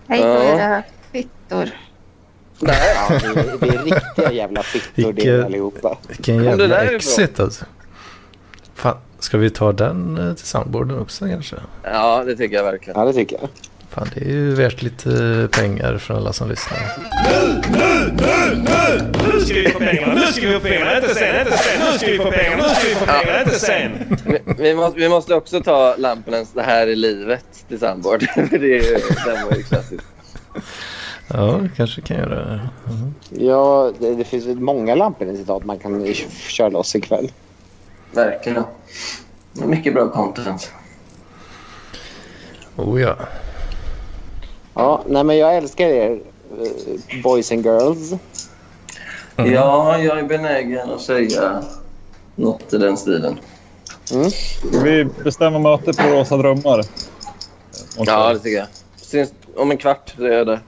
S1: Hej då era fittor.
S12: Ja, det, är, det är riktiga jävla fittor det är
S4: Vilket-
S12: allihopa.
S4: Vilken
S12: Kom det
S4: jävla
S12: därifrån?
S4: exit alltså. Fan, ska vi ta den eh, till sandborden också kanske?
S10: Ja, det tycker jag verkligen.
S12: Ja, det tycker jag.
S4: Fan, det är ju värt lite pengar från alla som lyssnar.
S2: Nu ska vi få pengarna, nu ska vi få pengarna, inte sen, inte sen, nu ska vi få pengarna, nu ska vi få pengarna, inte sen.
S10: Vi, vi, måste, vi måste också ta Lampenens Det här är livet till sandbord. det är ju, den var ju klassisk.
S4: Ja, vi kanske kan göra det. Mhm.
S12: Ja, det, det finns väl många lampor i citat man kan k- köra loss ikväll.
S10: Verkligen. Mycket bra content.
S4: Oh ja.
S12: Ja, nej men jag älskar er eh, boys and girls.
S4: Mm.
S10: Ja, jag är benägen att säga något i den stilen.
S12: Mm.
S8: Ska vi bestämma möte på Rosa Drömmar?
S10: Ja, det tycker jag. Syns om en kvart så är jag där.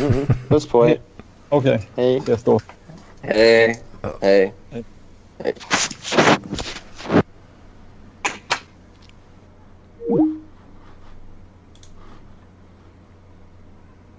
S12: Mm. Puss på er.
S8: Okej.
S12: Hej.
S8: Jag står.
S10: Hej. Hej. Hej.